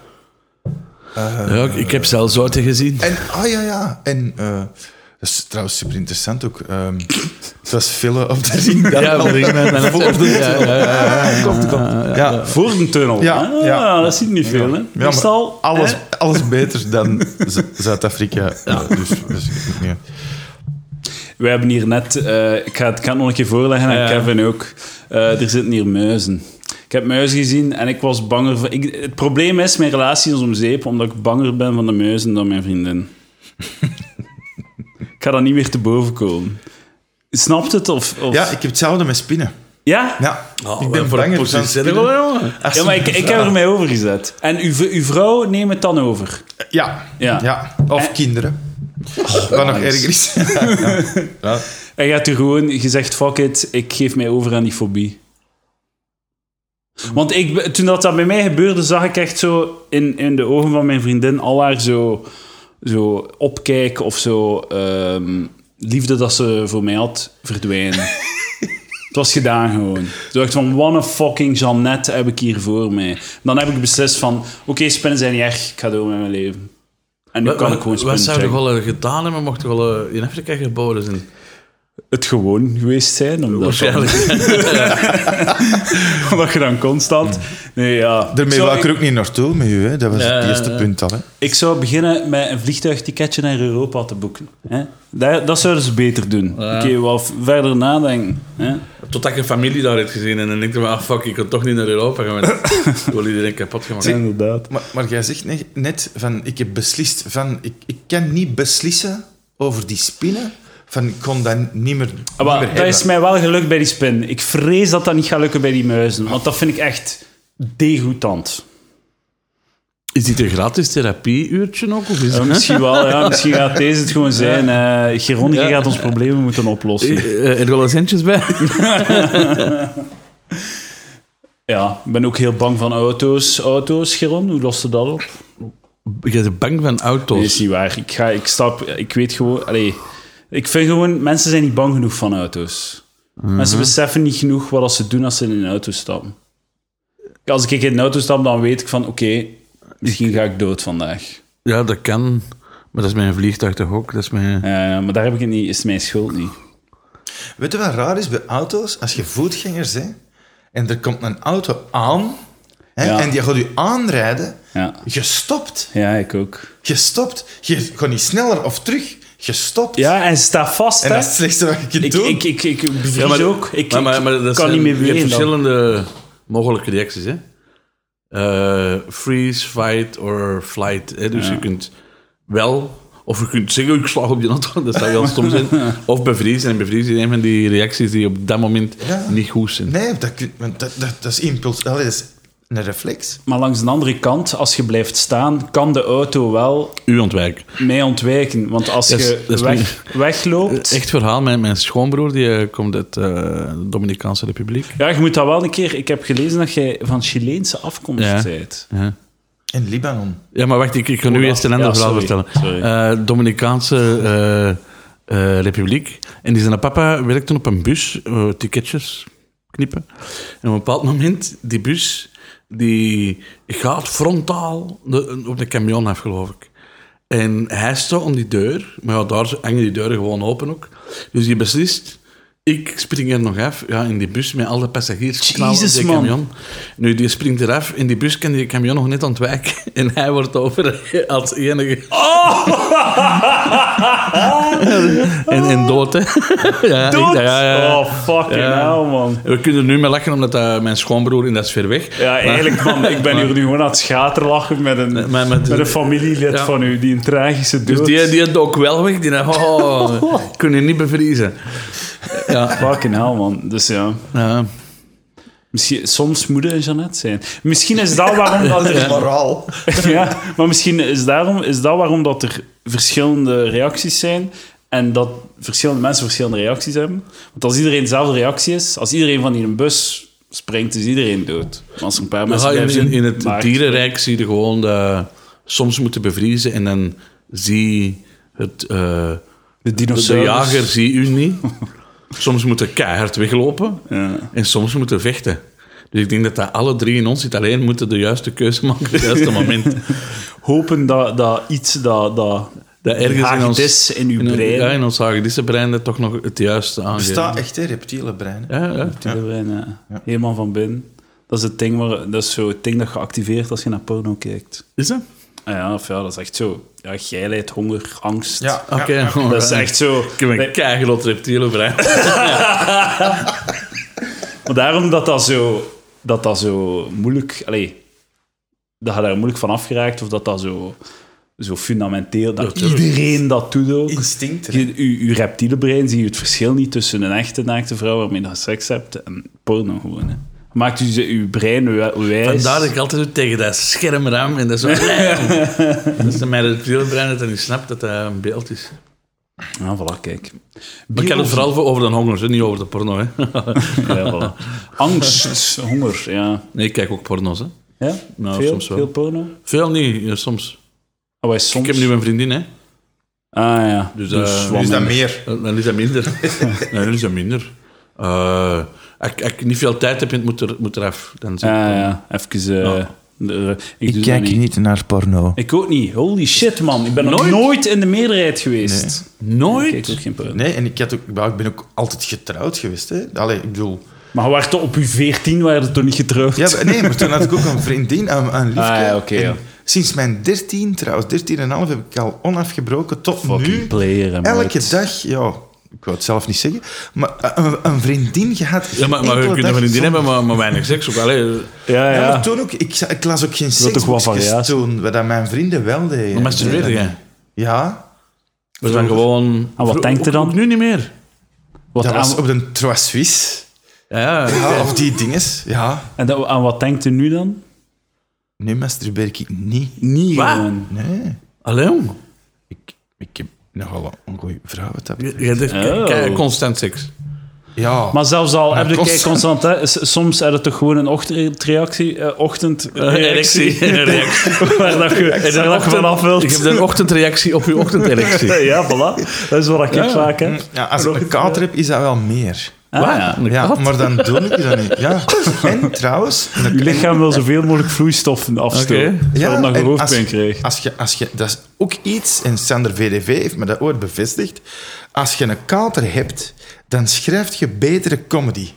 C: Eh,
B: Ja, ik, ik heb zelfs zouten gezien.
C: En, ah ja, ja. En eh, dat is trouwens super interessant ook. ehm het was file op de ring. dan
B: Ja,
C: al.
B: maar ik ben
C: Voor-
B: ja, ja, ja, ja, ja.
C: ja.
A: Voor een tunnel.
C: Ja,
A: Ah,
C: ja.
A: dat ziet niet veel, hè.
C: maar
A: Meestal,
C: alles,
A: hè,
C: alles beter dan Z- Zuid-Afrika. Ja. Dus, dus ik weet niet.
A: We hebben hier net, eh, ik, ga het, ik ga het nog een keer voorleggen aan
B: Ja.
A: Kevin ook. Eh, er zitten hier muizen. Ik heb muizen gezien en ik was banger. Van, ik, het probleem is, mijn relatie is om zeep, omdat ik banger ben van de muizen dan mijn vriendin. ik ga dat niet meer te boven komen. Snapt het? Of, of-
C: Ja, ik heb hetzelfde met spinnen.
A: ja?
C: Ja,
B: Oh,
C: ik
B: wat
C: ben
B: voor
C: banger
B: positie
C: dan
B: zit
C: spinnen.
B: er wel, jongen?
C: Als-
A: Ja, maar ik, ik heb er mij over gezet. En uw, v- uw vrouw neemt het dan over.
C: Ja.
A: Ja.
C: ja. Of
A: En-
C: kinderen. Wat nog erger is. Ja.
A: En je hebt er gewoon gezegd, fuck it, ik geef mij over aan die fobie. Want ik, be- toen dat, dat bij mij gebeurde, zag ik echt zo in, in de ogen van mijn vriendin al haar zo, zo opkijken of zo ehm, liefde dat ze voor mij had verdwijnen. Het was gedaan gewoon. Toen dacht ik van, what a fucking Jeannette heb ik hier voor mij. Dan heb ik beslist van, oké, spinnen zijn niet erg, ik ga door met mijn leven. En nu
B: Wat-
A: kan ik
B: wat-
A: gewoon
B: Wat
A: spinnen
B: zou je
A: checken.
B: wel gedaan hebben mocht je wel eh, in Afrika geboren zijn?
A: Het gewoon geweest zijn, omdat dan-
B: Waarschijnlijk.
A: Omdat je dan constant. Nee, ja.
C: Mm. Daarmee
A: zou,
C: wou ik er ook niet naartoe met u. Hè. Dat was het
B: Ja,
C: eerste
B: ja.
C: punt al. Hè.
A: ik zou beginnen met een vliegtuigticketje naar Europa te boeken. Hè? Dat, dat zouden ze beter doen.
B: Ja.
A: Oké, wel f- verder nadenken. Hè?
B: Totdat je familie daar hebt gezien en dan denk je van, ah fuck, ik kan toch niet naar Europa gaan. want Ik wil iedereen kapot gemaakt. hebben.
A: inderdaad.
C: Maar, maar jij zegt ne- net van, ik heb beslist van, ik, ik kan niet beslissen over die spinnen. Van, ik kon dat niet meer, niet meer
A: Ah, Maar dat
C: hebben.
A: is mij wel gelukt bij die spin. Ik vrees dat dat niet gaat lukken bij die muizen. Want dat vind ik echt degoutant.
B: Is dit een gratis therapieuurtje ook? Of is
A: Ja,
B: het-
A: misschien wel, ja. Misschien gaat deze het gewoon zijn. Eh Geronde
B: Ja.
A: gaat ons problemen moeten oplossen.
B: Eh, eh, Er wel eens centjes bij.
A: Ja, ik ben ook heel bang van auto's. Auto's, Geron, hoe lost ze dat op?
B: Je bent bang van auto's.
A: Nee, is niet waar. Ik, ga, ik stap, ik weet gewoon, allee, ik vind gewoon, mensen zijn niet bang genoeg van auto's. Mensen beseffen niet genoeg wat als ze doen als ze in een auto stappen. Als ik in een auto stap, dan weet ik van, oké, misschien ga ik dood vandaag.
B: Ja, dat kan. Maar dat is mijn vliegtuig toch ook? Dat is mijn...
A: Eh, maar daar heb ik het niet, is mijn schuld niet.
C: Weet je wat raar is bij auto's? Als je voetgangers bent en er komt een auto aan hè,
A: Ja.
C: en die gaat u aanrijden,
A: Ja,
C: je stopt.
A: ja ik ook.
C: Je stopt. Je gaat niet sneller of terug. Je stopt.
A: Ja, en ze staat vast,
C: En
A: hè.
C: dat is het slechtste wat je kunt
A: Ik,
C: doen.
A: ik, ik, ik bevries ook. Ik,
B: maar, maar, maar
A: ik
B: dat
A: kan niet
B: zijn-
A: meer
B: Je hebt
A: bewegen. dan.
B: verschillende mogelijke reacties, hè. Eh, freeze, fight or flight. Hè? Dus je kunt wel... Of je kunt zeggen, ik slag op die auto. Dat zou heel stom zijn. Of bevriezen. En bevriezen is een van die reacties die op dat moment
C: Ja.
B: niet goed zijn.
C: Nee, dat, kun- want dat, dat, dat is impuls. Allee, dat is Een reflex.
A: Maar langs de andere kant, als je blijft staan, kan de auto wel
B: U ontwijken.
A: mee ontwijken. Want als
B: Dat is-
A: je
B: dat is
A: weg, wegloopt...
B: Echt verhaal. Mijn, mijn schoonbroer die eh, komt uit eh, de Dominicaanse Republiek.
A: Ja, je moet dat wel een keer... Ik heb gelezen dat jij van Chileense afkomst
B: Ja.
A: bent.
B: Ja.
C: In Libanon.
B: Ja, maar wacht, ik, ik ga nu
A: Oeh,
B: eerst een
A: ja,
B: ander verhaal
A: sorry.
B: vertellen.
A: Sorry.
B: Eh, Dominicaanse eh, eh, Republiek. En die zijn papa werkte op een bus, eh, ticketjes knippen. En op een bepaald moment, die bus die gaat frontaal de- op de camion af, geloof ik. En hij staat om die deur, maar ja, daar hangen die deuren gewoon open ook. Dus die beslist, ik spring er nog af, ja, in die bus met al de passagiers. knallen op
A: Jezus,
B: die
A: man.
B: camion. Nu, die springt eraf, in die bus kan die camion nog net ontwijken. En hij wordt over als enige... en, en dood, hè. ja, ik-
A: Dood!
B: ja, ja, ja.
A: Oh, fucking
B: Ja.
A: hell, man.
B: We kunnen er nu mee lachen, omdat dat mijn schoonbroer, en dat is ver weg...
A: Ja, eigenlijk, man, ik ben hier nu gewoon aan het schaterlachen met een,
B: maar
A: met,
B: met-
A: een familielid
B: Ja.
A: van u die een tragische dood...
B: Dus die, die had ook wel weg. Die dacht, oh, kunnen niet bevriezen. Ja,
A: Fucking hell, man. Dus ja...
B: ja.
A: Misschien, soms moet het Jeannette zijn. Misschien is dat waarom dat er...
C: Moraal.
A: Ja, maar misschien is, daarom, is dat waarom dat er verschillende reacties zijn en dat verschillende mensen verschillende reacties hebben. Want als iedereen dezelfde reactie is, als iedereen van in een bus springt, is iedereen dood. Maar als er een paar
B: Maar
A: mensen
B: in,
A: blijven
B: in, in
A: zitten,
B: het
A: maar-
B: dierenrijk zie je gewoon dat soms moeten bevriezen en dan zie het, eh,
A: De
B: de
A: dinosaurus.
B: jager zie u niet. Soms moeten keihard weglopen
A: Ja.
B: en soms moeten vechten. Dus ik denk dat dat alle drie in ons zit. Alleen moeten de juiste keuze maken op het juiste moment.
A: Hopen dat, dat iets dat... dat
B: Dat ergens in ons,
A: hagedis in uw
B: in-
A: brein.
B: Ja, in ons hagedissenbrein dat toch nog het juiste aangeeft.
C: Bestaat echt, hè, reptiele brein. hè.
B: Ja, ja.
A: Die brein, ja. eh, Helemaal van binnen. Dat is het ding, waar, dat is zo het ding dat geactiveerd als je naar porno kijkt.
B: Is dat?
A: Ah Ja, of ja, dat is echt zo. Ja, geilheid, honger, angst.
C: Ja,
B: Oké.
C: ja, ja.
A: Dat is echt zo.
B: Ik heb een
A: Nee,
B: keigelot reptiele brein.
A: maar daarom dat dat zo, dat dat zo moeilijk. Allee, dat je daar moeilijk van afgeraakt of dat dat zo, zo fundamenteel. Dat iedereen dat doet ook.
C: Instinct. hè.
A: Je, uw, uw reptiele brein zie je het verschil niet tussen een echte naakte vrouw waarmee je seks hebt en porno gewoon. Hè. Maakt u ze- uw brein wij- wijs.
B: Vandaar dat ik altijd doe tegen dat schermraam en dat zo. dat is dan mijn reptiele brein dat hij niet snapt dat dat een beeld is.
A: Ja, voilà, kijk.
B: Maar ik had het vooral voor over de honger, hè, niet over de porno. Hè.
A: Ja, voilà. Angst, honger, ja.
B: Nee, ik kijk ook porno's. Hè.
A: ja?
B: Nou,
A: veel,
B: soms wel.
A: veel porno?
B: Veel niet, ja, soms.
A: Oh, wij soms.
B: Ik heb nu een vriendin, hè.
A: Ah ja,
B: Dus,
A: dus,
B: eh,
A: wat
C: Nu is dat
A: minder.
C: meer.
B: dan is dat minder. nee, dan is dat minder. Eh, als ik- als ik niet veel tijd heb, moet er, moet er af. Dan zit
A: Ja,
B: ik-
A: ja, even... eh,
B: Ja.
A: de- ik, doe dat niet.
C: naar porno.
A: Ik ook niet. Holy shit, man. Ik ben nog
B: Nooit?
A: nooit in de meerderheid geweest.
B: Nooit?
A: Ik kijk ook geen porno.
C: Nee, en ik, had ook, wel, ik ben ook altijd getrouwd geweest. Hè. Allee, ik bedoel...
A: Maar we waren toch op uw veertien, waren we toch niet getrouwd?
C: Ja, maar- nee, maar toen had ik ook een vriendin, een, een liefje.
A: Ah, ja, oké,
C: En
A: ja.
C: Sinds mijn 13, trouwens, 13,5 heb ik al onafgebroken tot nu.
A: Fucking player, hè,
C: Elke
A: maat.
C: dag, ja, ik wou het zelf niet zeggen, maar een, een vriendin gehad.
B: Ja, maar, maar je kunt een vriendin hebben, maar, maar weinig seks. Ook. Allee,
A: Ja,
C: Ja,
A: ja.
C: maar toen ook, ik, za- ik las ook geen
A: toch wel
C: seksboekjes
A: variatie?
C: toen, wat dat mijn vrienden wel deden.
B: maar masturbeerde
C: Nee, dat-
B: jij?
C: Ja,
B: We zijn gewoon...
A: En Ah, wat denkt er dan?
B: Ook nu niet meer.
A: Wat
C: dat
A: aan,
C: was op de Trois Suisse.
B: Ja, ja.
C: Ja, of die dinges. Ja,
A: en dat- aan wat denkt u nu dan?
C: nu masturbeer ik niet.
A: Niet
B: Wat?
A: gewoon.
C: Nee,
B: Allee, jong.
C: ik, ik heb nogal een goede vrouw. Wat dat
B: Je, je hebt echt
A: Oh.
B: ke- ke- constant seks.
C: Ja,
A: Maar zelfs al heb je
C: kost-
A: kijk, constant... Hè, s- soms heb je toch gewoon een ochtendreactie... eh, ochtendreactie.
B: Erectie.
A: waar dat je, waar dat je
B: Ochtend-
A: vanaf wilt.
B: Ik heb een ochtendreactie op uw ochtenderectie.
A: Ja, voilà. Dat is wat ik vaak heb.
C: Mm, ja, als ik een kater heb, is dat wel meer.
A: Ah, ja.
C: Ja, maar dan doe ik dat niet. Ja. En trouwens...
A: Uw lichaam wil zoveel mogelijk vloeistoffen afstoten.
B: Oké.
A: Zodat je
C: en
A: nog hoofdpijn
C: als,
A: krijgt.
C: Als je, als je, dat is ook iets, en Sander VDV heeft me dat ooit bevestigd. Als je een kater hebt, dan schrijf je betere comedy.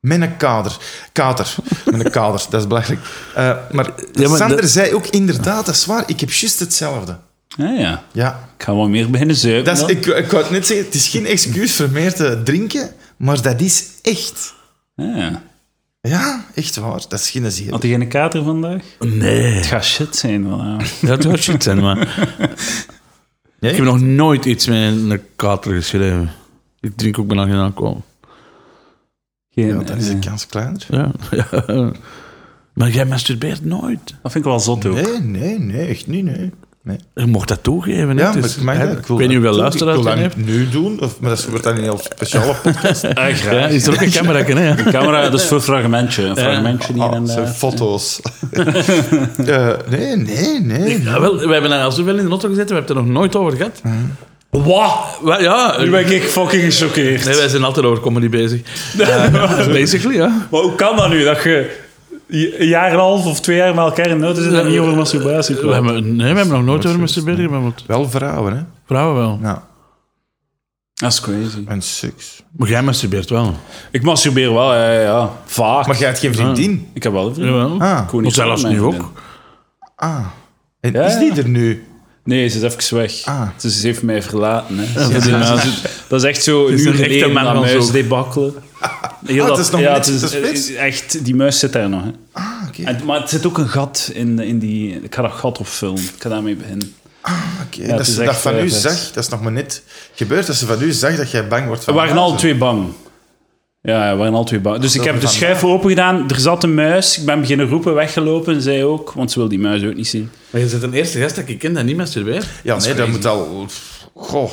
C: Met een kader. Kater. Met een kader, dat is belachelijk. Eh, maar,
B: Ja, maar
C: Sander
B: dat-
C: zei ook inderdaad, dat is waar, ik heb juist hetzelfde.
A: Ja, Ah, ja.
C: Ja.
A: Ik ga wel meer beginnen zuipen.
C: Dat is,
A: dan.
C: ik, ik wou het net zeggen, het is geen excuus voor meer te drinken, maar dat is echt.
A: Ja, Ah, ja.
C: Ja, echt waar. Dat is geen zeer.
A: Had je geen kater vandaag?
B: Nee.
A: Het gaat shit zijn. voilà.
B: Dat zou shit zijn, maar... Ik heb nog nooit iets met een kater geschreven. Ik drink ook bijna geen alcohol.
A: Geen,
C: Ja, dan is de
A: eh,
C: kans kleiner.
B: Ja. ja. Maar jij masturbeert nooit.
A: Dat vind ik wel zot ook.
C: Nee, nee, nee, echt niet, nee. nee.
B: Je mocht dat toegeven. hè.
C: Ja,
B: Het
C: maar
B: is-
C: ik mag
B: hè,
C: dat.
B: Ik weet niet hoeveel luisteraars
C: Ik wil
B: je
C: dat
B: hebt.
C: nu doen, of, maar dat wordt dan een heel speciale podcast.
A: Ah, graag.
B: Ja, is er ook een camera? hè?
A: De camera, dat is voor een fragmentje. Een fragmentje niet.
C: Ah,
A: en,
C: zijn
A: eh,
C: foto's. Eh, nee, nee, nee.
B: Ja, wel, we hebben daar zoveel in de auto gezeten, we hebben het er nog nooit over gehad.
A: Wauw!
B: Wa- Ja, eh,
A: Nu ben ik fucking gechoqueerd.
B: nee, wij zijn altijd over comedy bezig. Eh, basically, ja.
A: Maar hoe kan dat nu? Dat je een jaar en een half of twee jaar met elkaar in de auto zit en niet over masturbatie
B: We
A: praat.
B: hebben, nee, we hebben nog nooit over masturberen, maar met
C: Wel vrouwen, hè?
B: vrouwen wel.
C: Ja,
A: Dat is crazy.
C: en seks.
B: Maar jij masturbeert wel.
A: Ik masturbeer wel, ja, ja, ja. Vaak.
C: Maar jij hebt geen vriendin?
A: Ik heb wel een vriendin.
B: Jawel.
C: Ah,
A: Ik woon
B: Maar
A: niet
B: zelfs
A: samen
B: nu
A: met
B: ook.
A: mijn vriendin.
C: ah. En
A: Ja,
C: is die
A: ja.
C: er nu?
A: Nee, ze is even weg.
C: Ah.
A: Dus ze heeft mij verlaten. Hè. Ze-
B: Ja,
A: ze-
B: ja.
A: ze- dat is echt zo een
B: is
A: uur
B: een echte
A: geleden
B: man
A: dat
B: van
A: muis
B: zoek.
A: debakkelen. Heel
C: Ah,
A: dat,
C: het is nog
A: ja,
C: niet
A: het is, eh,
C: te spits?
A: Echt, die muis zit daar nog. Hè.
C: Ah, oké.
A: En, maar het zit ook een gat in, in die... Ik ga dat gat opvullen. Ik ga daarmee beginnen.
C: oké.
A: het
C: dat
A: is
C: ze dat
A: echt,
C: van
A: eh,
C: u
A: vet.
C: zag, dat is nog maar net gebeurd, dat ze van u zag dat jij bang wordt
A: We
C: van
A: waren
C: muizen.
A: alle twee bang. Ja, ja, we waren alle twee bang. Dus ik heb de
C: vandaar.
A: schijf open gedaan. Er zat een muis. Ik ben beginnen roepen, weggelopen. Zij ook, want ze wil die muis ook niet zien.
B: Maar je bent de eerste gast dat ik ken dat niet masturbeert.
C: Ja, nee, dat moet al... Goh.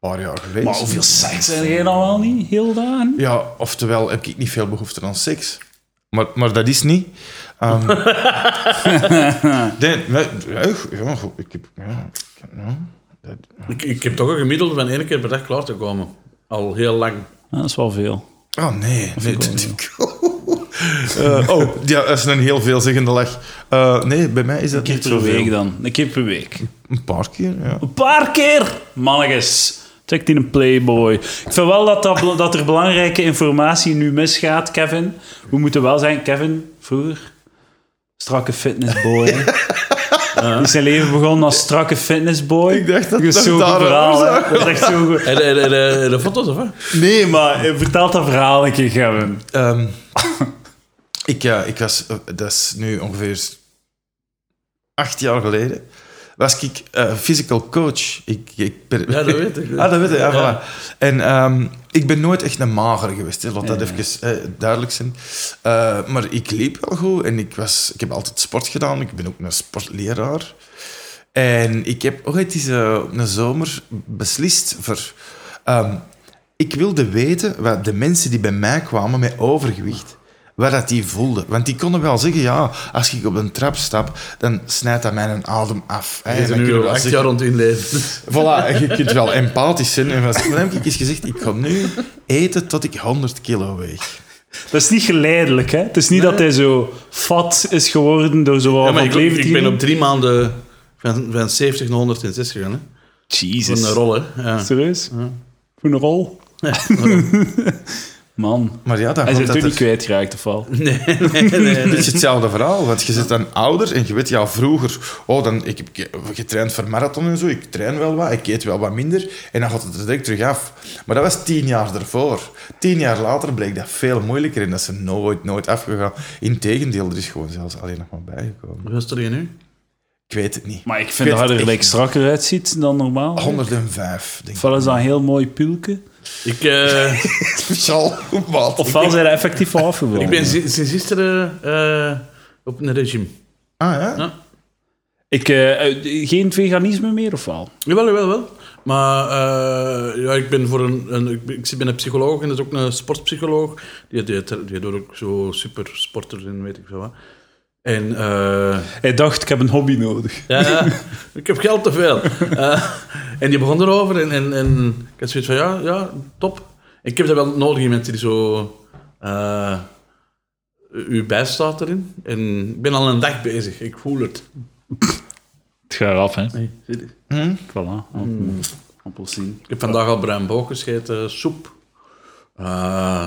C: Een paar jaar geleden.
A: Maar hoeveel seks zijn jij dan wel niet? Heel dagen?
C: Ja, oftewel heb ik niet veel behoefte aan seks. Maar, maar dat is niet. Ehm nee, maar, ja, goed, ja, goed, ik heb... Ja, ik- ja, dat,
B: Ik, ik heb toch een gemiddelde van één keer per dag klaar te komen. Al heel lang.
A: Ja, dat is wel veel.
C: oh nee, nee dat heb ik Eh, Oh, ja, dat is een heel veelzeggende lach. Eh, nee, bij mij is dat
A: Een keer
C: niet
A: per week
C: zoveel.
A: dan. Een keer per week.
C: Een paar keer, ja.
A: Een paar keer! Mannetjes. Check die een playboy. Ik vind wel dat, dat, dat er belangrijke informatie nu misgaat, Kevin. We moeten wel zijn, Kevin, vroeger... Strakke fitnessboy. hè. Die is zijn leven begonnen als strakke fitnessboy.
C: Ik dacht dat
A: is
C: dat
A: zo'n goed
C: daar een
A: verhaal, hè.
C: oorzaak
A: Dat is echt zo goed.
B: En de, en de, en de, en de foto's, of wat?
A: Nee, maar eh, vertel dat verhaal een keer, Gavin.
C: Ehm, ik, ja, ik was, eh, dat is nu ongeveer acht jaar geleden, was ik eh, physical coach. Ik, ik per-
B: Ja, dat weet ik.
C: Ah, dat weet ik, ja,
B: Ja.
C: voilà. En ehm, ik ben nooit echt een mager geweest, hè. laat dat even eh, duidelijk zijn. Eh, maar ik liep wel goed en ik, was, ik heb altijd sport gedaan. Ik ben ook een sportleraar. En ik heb ooit eens eh, een zomer beslist voor... ehm, ik wilde weten wat de mensen die bij mij kwamen met overgewicht, wat dat die voelden. Want die konden wel zeggen, ja, als ik op een trap stap, dan snijdt dat mijn adem af. hè.
B: Je
C: En
B: zit
C: dan
B: nu
C: kunnen we
B: al
C: wel
B: acht
C: zeggen-
B: jaar rond in leven.
C: Voilà, en je kunt wel empathisch zijn. En van dan heb ik eens gezegd, ik ga nu eten tot ik 100 kilo weeg.
A: Dat is niet geleidelijk, hè. Het is niet dat hij zo fat is geworden door zo'n
B: Ja, maar
A: van
B: ik,
A: 17.
B: ik ben op drie maanden van, van 70 naar 106 gegaan. Hè.
A: Jesus.
B: Van een rol, hè. Ja.
A: Serieus? Voor een rol? Man.
C: Maar ja, dan
A: Hij is
C: komt
A: het
C: dat
A: toen niet
C: er...
A: kwijtgeraakt, of wel?
C: Een beetje hetzelfde verhaal, want je zit dan ouder en je weet, ja, vroeger... Oh, dan, ik heb ge- getraind voor marathon en zo, ik train wel wat, ik eet wel wat minder. En dan gaat het er direct terug af. Maar dat was tien jaar ervoor. Tien jaar later bleek dat veel moeilijker en dat is er nooit, nooit afgegaan. Integendeel, er is gewoon zelfs alleen nog maar bijgekomen.
B: Hoeveel stond je nu?
C: Ik weet het niet.
A: Maar ik vind dat
C: weet
A: hij er
C: het
A: like,
C: echt
A: strakker uitziet dan normaal.
C: 105, denk ik.
A: Ofwel is dat een heel mooi pulke.
B: Ik, eh,
C: Speciaal goed, maat.
A: Ofwel zijn hij effectief afgevallen.
B: ik ben si- sinds gisteren eh, op een regime.
C: Ah, ja?
A: Ik, eh, eh, geen veganisme meer, of wel?
B: Jawel, jawel, wel. Maar eh, ja, ik ben voor een, een ik, ben- ik zit bij een psycholoog en dat is ook een sportpsycholoog. Die, die, die doet ook zo super sporters en weet ik veel wat. En eh,
A: Hij dacht, ik heb een hobby nodig.
B: ja, ja, ik heb geld te veel. Eh, en die begon erover en, en, en ik had zoiets van ja, ja, top. Ik heb dat wel nodig in mensen die zo eh, u bijstaat erin. En ik ben al een dag bezig. Ik voel het.
A: Het gaat eraf, hè?
B: Hey, zie dit.
C: Hm?
A: Voilà. Appelsien.
B: Ik heb vandaag al bruin boog gegeten, soep. Eh,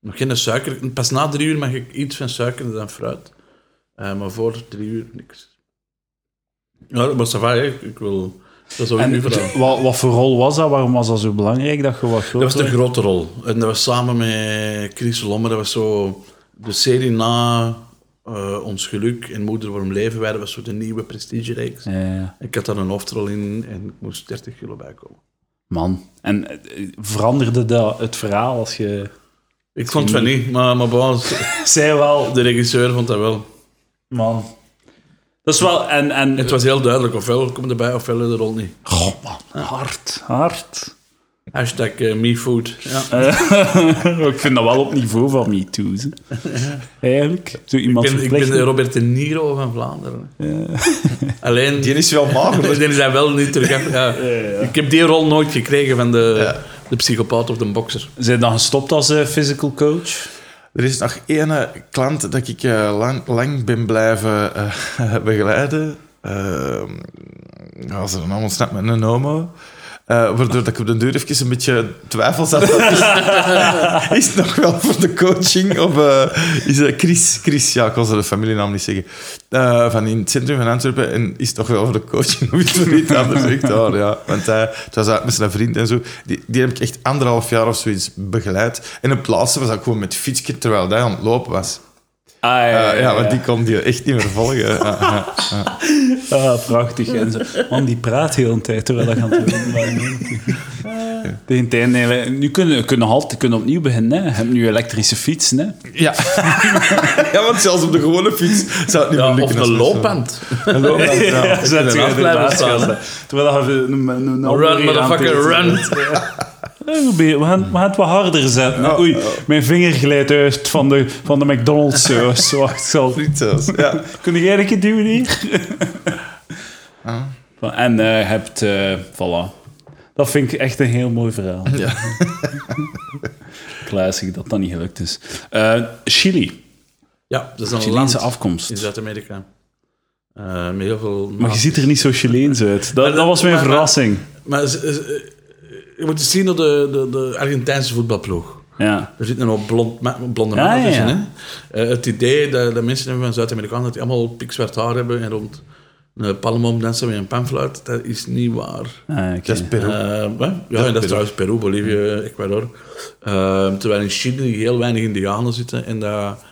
B: nog geen suiker. Pas na drie uur mag ik iets van suiker dan fruit. Eh, maar voor drie uur niks. Ja, maar ça va, hè. ik wil... Dat is ook
A: En
B: nu verhaal.
A: wat, wat voor rol was dat? Waarom was dat zo belangrijk dat je wat groter
B: Dat was de
A: werd?
B: grote rol. En dat was samen met Chris Lommer. Dat was zo de serie na eh, Ons Geluk en Moeder Waarom Leven Wij. Dat was zo de nieuwe prestigereeks.
A: Ja, ja.
B: Ik had daar een hoofdrol in en ik moest 30 kilo bijkomen.
A: Man. En eh, veranderde dat het verhaal als je...
B: Ik vond het van niet, maar, maar bon,
A: Zij wel.
B: de regisseur vond dat wel.
A: Man. Dat is wel... En, en,
B: Het was heel duidelijk, ofwel komt erbij, ofwel in de rol niet.
A: Goh, man. Hard. Hard.
B: Hashtag eh, MeFood. Ja.
A: ik vind dat wel op niveau van me too's, hè. Eigenlijk. Zo
B: Ik
A: iemand
B: ben, ik ben
A: verplichten.
B: de Robert De Niro van Vlaanderen. Alleen,
C: Die
B: die
C: is wel mager. maar-
B: zijn wel niet terug. af- Ja. Ik heb die rol nooit gekregen van de, de psychopaat of de bokser.
A: Zijn dan gestopt als eh, physical coach?
C: Er is nog één klant dat ik eh, lang, lang ben blijven eh, begeleiden. Uh, als er een naam ontsnapt met een homo. Eh, waardoor dat ik op de deur even een beetje twijfels had. Is- is het nog wel voor de coaching? Of eh, is dat Chris? Chris, ja, ik kon zijn familienaam niet zeggen. Eh, van in het centrum van Antwerpen. En is het nog wel voor de coaching? Of is het voor iets anders? Echt waar, ja. Want hij het was uit met zijn vriend en zo. Die, die heb ik echt anderhalf jaar of zoiets begeleid. En op het laatste was ik gewoon met fietsje terwijl hij aan het lopen was.
A: Ah, ja,
C: Eh, ja, want die kon die echt niet meer volgen. Ja, ja.
A: Ah, prachtig. En zo. Man, die praat heel een tijd terwijl dat gaat doen. Tegen het einde, wij- nu kunnen we kunnen halt, kunnen opnieuw beginnen. Hè. Je hebt nu elektrische fiets. Hè.
C: Ja. ja, want zelfs op de gewone fiets zou het niet meer
B: of
C: lukken.
B: de
A: eh,
C: als persoon.
B: loopband.
C: Een loopband, ja.
A: Ja, zet
B: kunnen
A: je
B: afblijven
A: inderdaad
B: staan,
A: gaan,
B: hè.
A: hè. Terwijl dat je een, een, een andere
B: Run,
A: hier
B: motherfucker,
A: aan
B: run.
A: het- Eh, probeer- We gaan, we gaan het wat harder zetten. hè. Oei, mijn vinger glijdt uit van de, van de McDonald's saus. Wacht, ik zal...
C: Frietsaus, ja.
A: Kun jij een keer duwen hier? En eh, je hebt... eh, voilà. Dat vind ik echt een heel mooi verhaal.
C: Ja.
A: Klaasig dat dat niet gelukt is. Eh, Chili.
B: Ja, dat is een land
A: Chileense afkomst.
B: in Zuid-Amerika. Eh, met heel veel...
A: Maar je ziet er niet zo Chileens uit. Dat,
B: dat-
A: dat was mijn
B: maar- maar-
A: verrassing.
B: Maar ze- ze- je moet eens zien naar de, de, de Argentijnse voetbalploeg.
A: Ja.
B: Er zit een hoop blond, ma- blonde
A: Ja,
B: mannen
A: ja,
B: tussen.
A: ja.
B: Hè? Eh, het idee dat, dat mensen hebben van Zuid-Amerikanen dat die allemaal pikzwart haar hebben en rond een palmboom dansen met een panfluit, dat is niet waar.
A: Ah, oké.
C: Dat is Peru.
B: Eh, hè? ja, en dat is trouwens Peru,
A: Mm.
B: Bolivia, Ecuador. Eh, terwijl in Chili heel weinig Indianen zitten en dat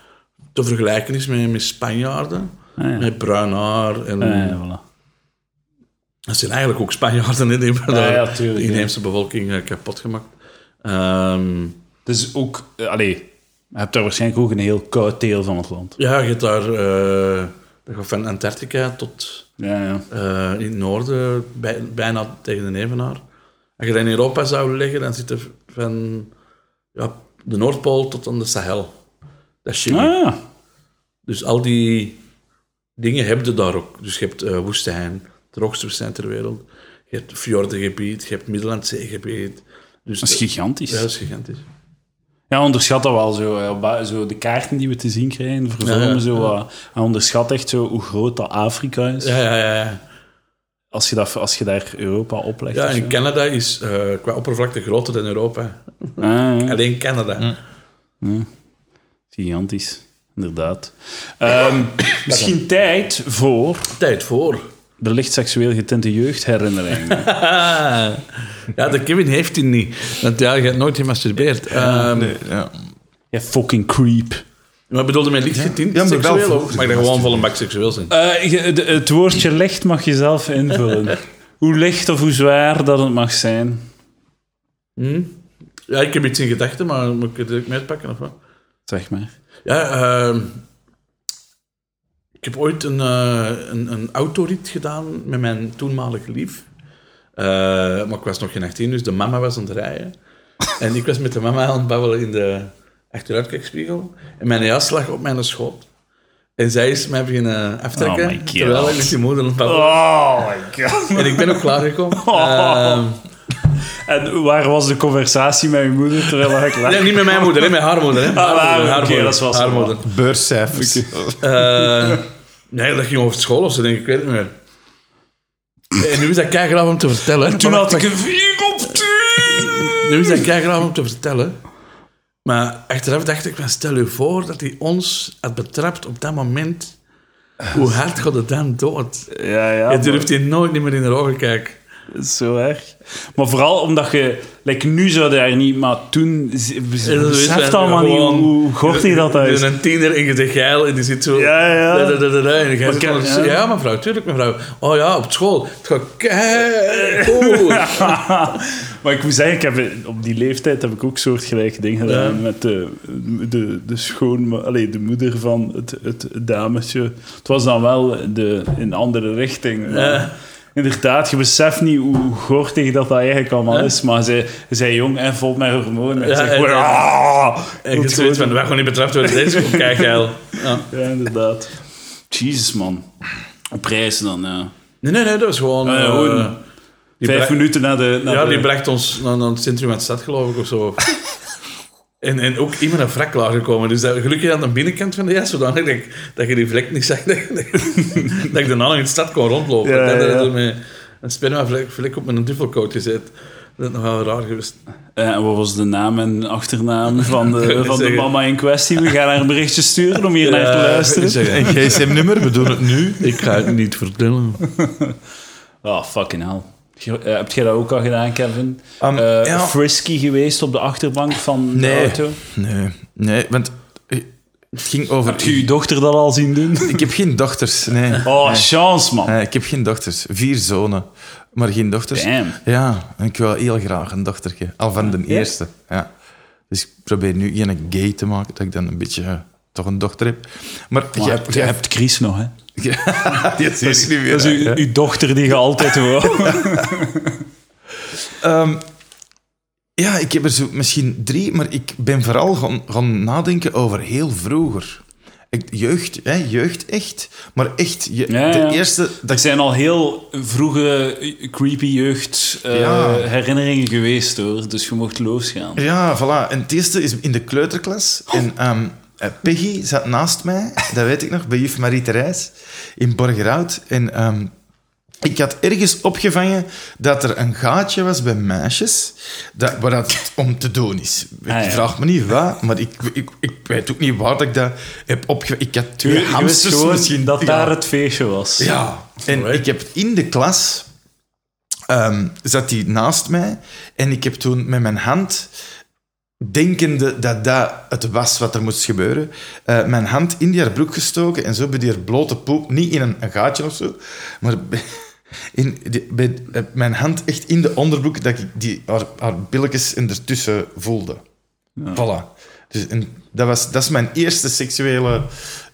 B: te vergelijken is met, met Spanjaarden,
A: Ah, ja.
B: met bruin haar en
A: Eh, voilà.
B: dat zijn eigenlijk ook Spanjaarden, hè, die
A: Ah,
B: hebben
A: Ja,
B: daar
A: ja, tuurlijk,
B: de
A: ja.
B: inheemse bevolking eh, kapot gemaakt. Ehm,
A: Dus ook... eh, allee, je hebt daar waarschijnlijk ook een heel koud deel van het land.
B: ja, je hebt daar eh, dat gaat van Antarctica tot
A: Ja, ja.
B: eh, in het noorden, bij- bijna tegen de Evenaar. Als je dat in Europa zou leggen, dan zit er van ja, de Noordpool tot aan de Sahel. Dat is Chili.
A: Ah, ja.
B: Dus al die dingen heb je daar ook. Dus je hebt eh, woestijn, de hoogste woestijn ter wereld. Je hebt fjordengebied, je hebt Middellandzeegebied. Dus
A: Dat is gigantisch.
B: Ja, dat is gigantisch.
A: Ja, onderschat dat wel zo. eh, op ba- zo de kaarten die we te zien krijgen, vervormen
B: Ja, ja,
A: zo. wat. en onderschat echt zo hoe groot dat Afrika is.
B: Ja, ja, ja, ja.
A: Als, je dat, als je daar Europa oplegt.
B: Ja,
A: of zo.
B: en Canada is eh, qua oppervlakte groter dan Europa.
A: Ah, ja.
B: Alleen Canada.
A: Gigantisch, inderdaad. Ehm, misschien tijd voor
B: Tijd voor.
A: de licht seksueel getinte jeugdherinnering.
B: ja, de Kevin heeft die niet. Want ja, je hebt nooit gemasturbeerd. Ehm,
C: Nee, ja.
A: ja, fucking creep.
B: Maar bedoelde met licht getint
C: Ja, maar wel
B: seksueel
C: voor-
B: ook? Mag dat gewoon volle bak seksueel zijn?
A: Eh, je- de- het woordje licht mag je zelf invullen. hoe licht of hoe zwaar dat het mag zijn.
B: Hm? Ja, ik heb iets in gedachten, maar moet ik het direct mee pakken of wat?
A: Zeg maar.
B: Ja, ehm, ik heb ooit een, eh, een, een autorit gedaan met mijn toenmalige lief. Eh, maar ik was nog geen 18, dus de mama was aan het rijden. en ik was met de mama aan het babbelen in de achteruitkijkspiegel. En mijn jas lag op mijn schoot. En zij is mij beginnen aftrekken,
A: Oh my God.
B: terwijl ik met die moeder aan het babbelen
A: Oh my god.
B: En ik ben ook klaargekomen. Ehm,
A: En waar was de conversatie met je moeder terwijl ik lag?
B: nee, niet met mijn moeder, hè, met haar moeder. Hè. Haar
A: Ah,
B: moeder,
A: oké,
B: haar moeder,
A: dat is wel
B: haar
A: zo.
B: moeder.
C: Beurscijfers.
B: Eh, nee, dat ging over het school of zo, denk ik. Ik weet het niet meer. En nu is dat keigraaf om te vertellen.
A: Toen
B: Maar-
A: had ik een 4 op 10.
B: Nu is dat keigraaf om te vertellen. Maar achteraf dacht ik, van, stel u voor dat hij ons had betrapt op dat moment. Hoe hard gaat het dan dood?
A: Ja, ja.
B: Je durft hij nooit niet meer in de ogen kijken.
A: Dat is zo erg. Maar vooral omdat je... Like, nu zou je daar niet... Maar toen... z- Beseft allemaal niet hoe- hoe gortig dat dat
B: Je
A: is.
B: bent een tiener en je zegt geil en die zit zo...
A: Ja, ja.
B: Da, da, da, da, da, en jij
A: Maar
B: zit
A: kijk,
B: dan
A: ja.
B: zo, ja, mevrouw, tuurlijk mevrouw. Oh ja, op school. Het gaat kei goed.
A: maar ik moet zeggen, ik heb, eh, op die leeftijd heb ik ook soortgelijke dingen gedaan
B: Ja.
A: met de, de, de schoon... Allee, de moeder van het, het dametje. Het was dan wel de, in een andere richting. maar
B: Ja.
A: Inderdaad, je beseft niet hoe gortig dat, dat eigenlijk allemaal
B: Ja.
A: is. Maar zij, zij jong en vol met hormonen. Ah! Ja,
B: Ja, en- En
A: en,
B: je zoiets van, wij gaan niet betrapt worden. Dit is gewoon kei geil. Ja.
A: Ja, inderdaad. Jezus, man. Op reis dan, ja.
B: Nee, nee, nee, dat is gewoon...
A: ja,
B: eh,
A: gewoon
B: die
A: Vijf
B: bra-
A: minuten na de... Na
B: Ja,
A: de-
B: die bracht ons naar, naar het centrum van de stad, geloof ik, of zo. En, en ook iemand een vlek klaargekomen. Dus dat, gelukkig aan de binnenkant van de jas, zodanig dat, ik- dat je die vlek niet zag. Dat, dat, dat ik daarna nog in de stad kon rondlopen.
A: Ja,
B: dat
A: ja, ja.
B: er met een spermavlek vlek op mijn duffelcoat gezet. Dat is nog wel raar geweest.
A: Eh, en wat was de naam en achternaam van de, van de
B: Zeggen.
A: mama in kwestie? We gaan haar een berichtje sturen om hier naar te luisteren.
C: Een gsm-nummer, we doen het nu.
B: Ik ga het niet vertellen.
A: Oh, fucking hell. Ge- eh, heb jij dat ook al gedaan, Kevin?
C: Am-
A: Eh,
C: Ehm, ja.
A: Frisky geweest op de achterbank van de
C: Nee.
A: auto?
C: Nee, nee, want eh, het ging over...
A: Heb je je dochter dat al zien doen?
C: Ik heb geen dochters, nee.
A: Oh,
C: nee.
A: chance, man.
C: Nee, ik heb geen dochters. Vier zonen, maar geen dochters.
A: Damn.
C: Ja, en ik wil heel graag een dochtertje. Al van de eerste, ja. Dus ik probeer nu geen gay te maken, dat ik dan een beetje... eh, toch een dochter heb. Maar,
A: Maar je hebt, je hebt Chris nog, hè?
C: die zie ik niet meer.
A: Dat is uw,
C: hè.
A: uw dochter die je altijd wou.
C: Ehm, ja, ik heb er zo misschien drie, maar ik ben vooral gaan, gaan nadenken over heel vroeger. Ik, jeugd, hè, jeugd echt. Maar echt, je,
A: Ja,
C: de
A: ja.
C: eerste...
A: Dat
C: Dat,
A: zijn al heel vroege eh, creepy jeugd eh,
C: Ja.
A: herinneringen geweest, hoor. Dus je mocht losgaan.
C: ja, voilà. En het eerste is in de kleuterklas.
A: Oh.
C: En ehm, eh, Peggy zat naast mij, dat weet ik nog, bij juf Marie Therese in Borgerhout. En ehm, ik had ergens opgevangen dat er een gaatje was bij meisjes dat, waar dat om te doen is. Ik
A: Ah, ja.
C: vraag me niet waar, maar ik, ik, ik weet ook niet waar dat ik dat heb opgevangen. Ik had twee
A: Je wist
C: hamsters
A: gewoon
C: misschien.
A: dat
C: Ja.
A: daar het feestje was.
C: Ja, en ik heb in de klas ehm, zat hij naast mij en ik heb toen met mijn hand, denkende dat dat het was wat er moest gebeuren, eh, mijn hand in die haar broek gestoken en zo bij die haar blote poep, niet in een, een gaatje of zo, maar bij- in die- bij, eh, mijn hand echt in de onderbroek, dat ik die, haar, haar billetjes in ertussen voelde. Voilà. Dus, en dat, was, dat is mijn eerste seksuele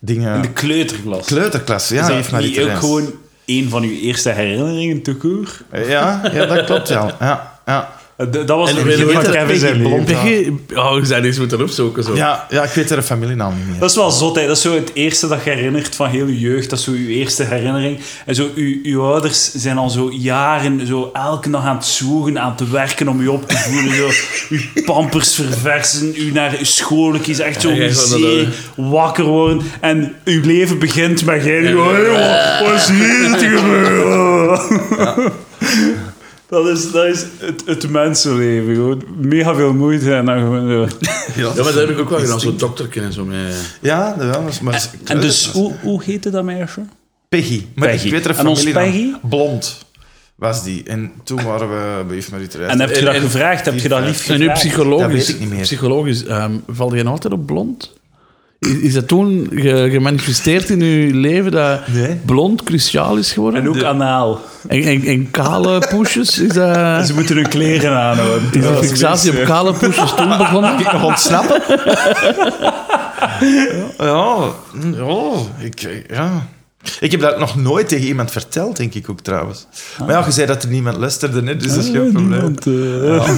C: dingen.
A: De kleuterklas.
C: Kleuterklas, ja,
A: Is dat
C: heeft mij
A: niet
C: die
A: ook gewoon een van uw eerste herinneringen, te koer?
C: Ja, ja, dat klopt wel. Ja, ja.
A: Eh, Dat dat was
B: En
A: het
B: weet
A: begin
B: je
A: van
B: dat
A: Kevin
C: Peggy
A: zijn leven.
C: Blom-
B: Peggy, oh, ik zou deze moeten opzoeken. Zo.
C: Ja, ja, ik weet haar familienaam niet meer.
A: Dat is wel zot, hè. Dat is zo het eerste dat je herinnert van heel je jeugd. Dat is zo je eerste herinnering. En zo, uw, uw ouders zijn al zo jaren zo elke dag aan het zwoegen, aan het werken om je op te voeden. Zo, uw pampers verversen, u naar uw school kiezen, echt zo
B: Ja, jij gaat naar
A: museum, wakker worden. En uw leven begint met jij. die- "Hey, wat- Wat is hier te gebeuren? Dat is, dat is het, het mensenleven. Gewoon mega veel moeite en dan gewoon zo.
B: Ja, maar dat heb ik ook wel gedaan. Zo'n dokter en zo mee.
C: Ja, dat wel. Maar, maar
A: En dus, hoe, hoe heette dat meisje?
C: Peggy. Maar
A: Peggy.
C: ik weet haar
A: En ons
C: familienaam.
A: Peggy?
C: Blond was die. En toen waren we bij Juf Marie Therese.
A: En heb je
B: En-
A: dat
B: en-
A: gevraagd? Heb je dat
C: die-
A: lief
B: En nu
A: gevraagd?
B: psychologisch.
C: Dat weet ik niet meer.
B: Psychologisch, ehm, val je nog altijd op blond? Is, is dat toen ge- gemanifesteerd in je leven dat
C: Nee.
B: blond cruciaal is geworden?
A: En ook anaal.
B: en, en, en kale poesjes? Is dat...
A: Ze moeten hun kleren aanhouden.
B: Is de fixatie op kale poesjes toen begonnen?
C: Ik nog ontsnappen. ja, ja, ik, ja. Ik heb dat nog nooit tegen iemand verteld, denk ik ook trouwens. Maar ja, je zei dat er niemand luisterde, hè, dus dat is geen probleem.
B: eh,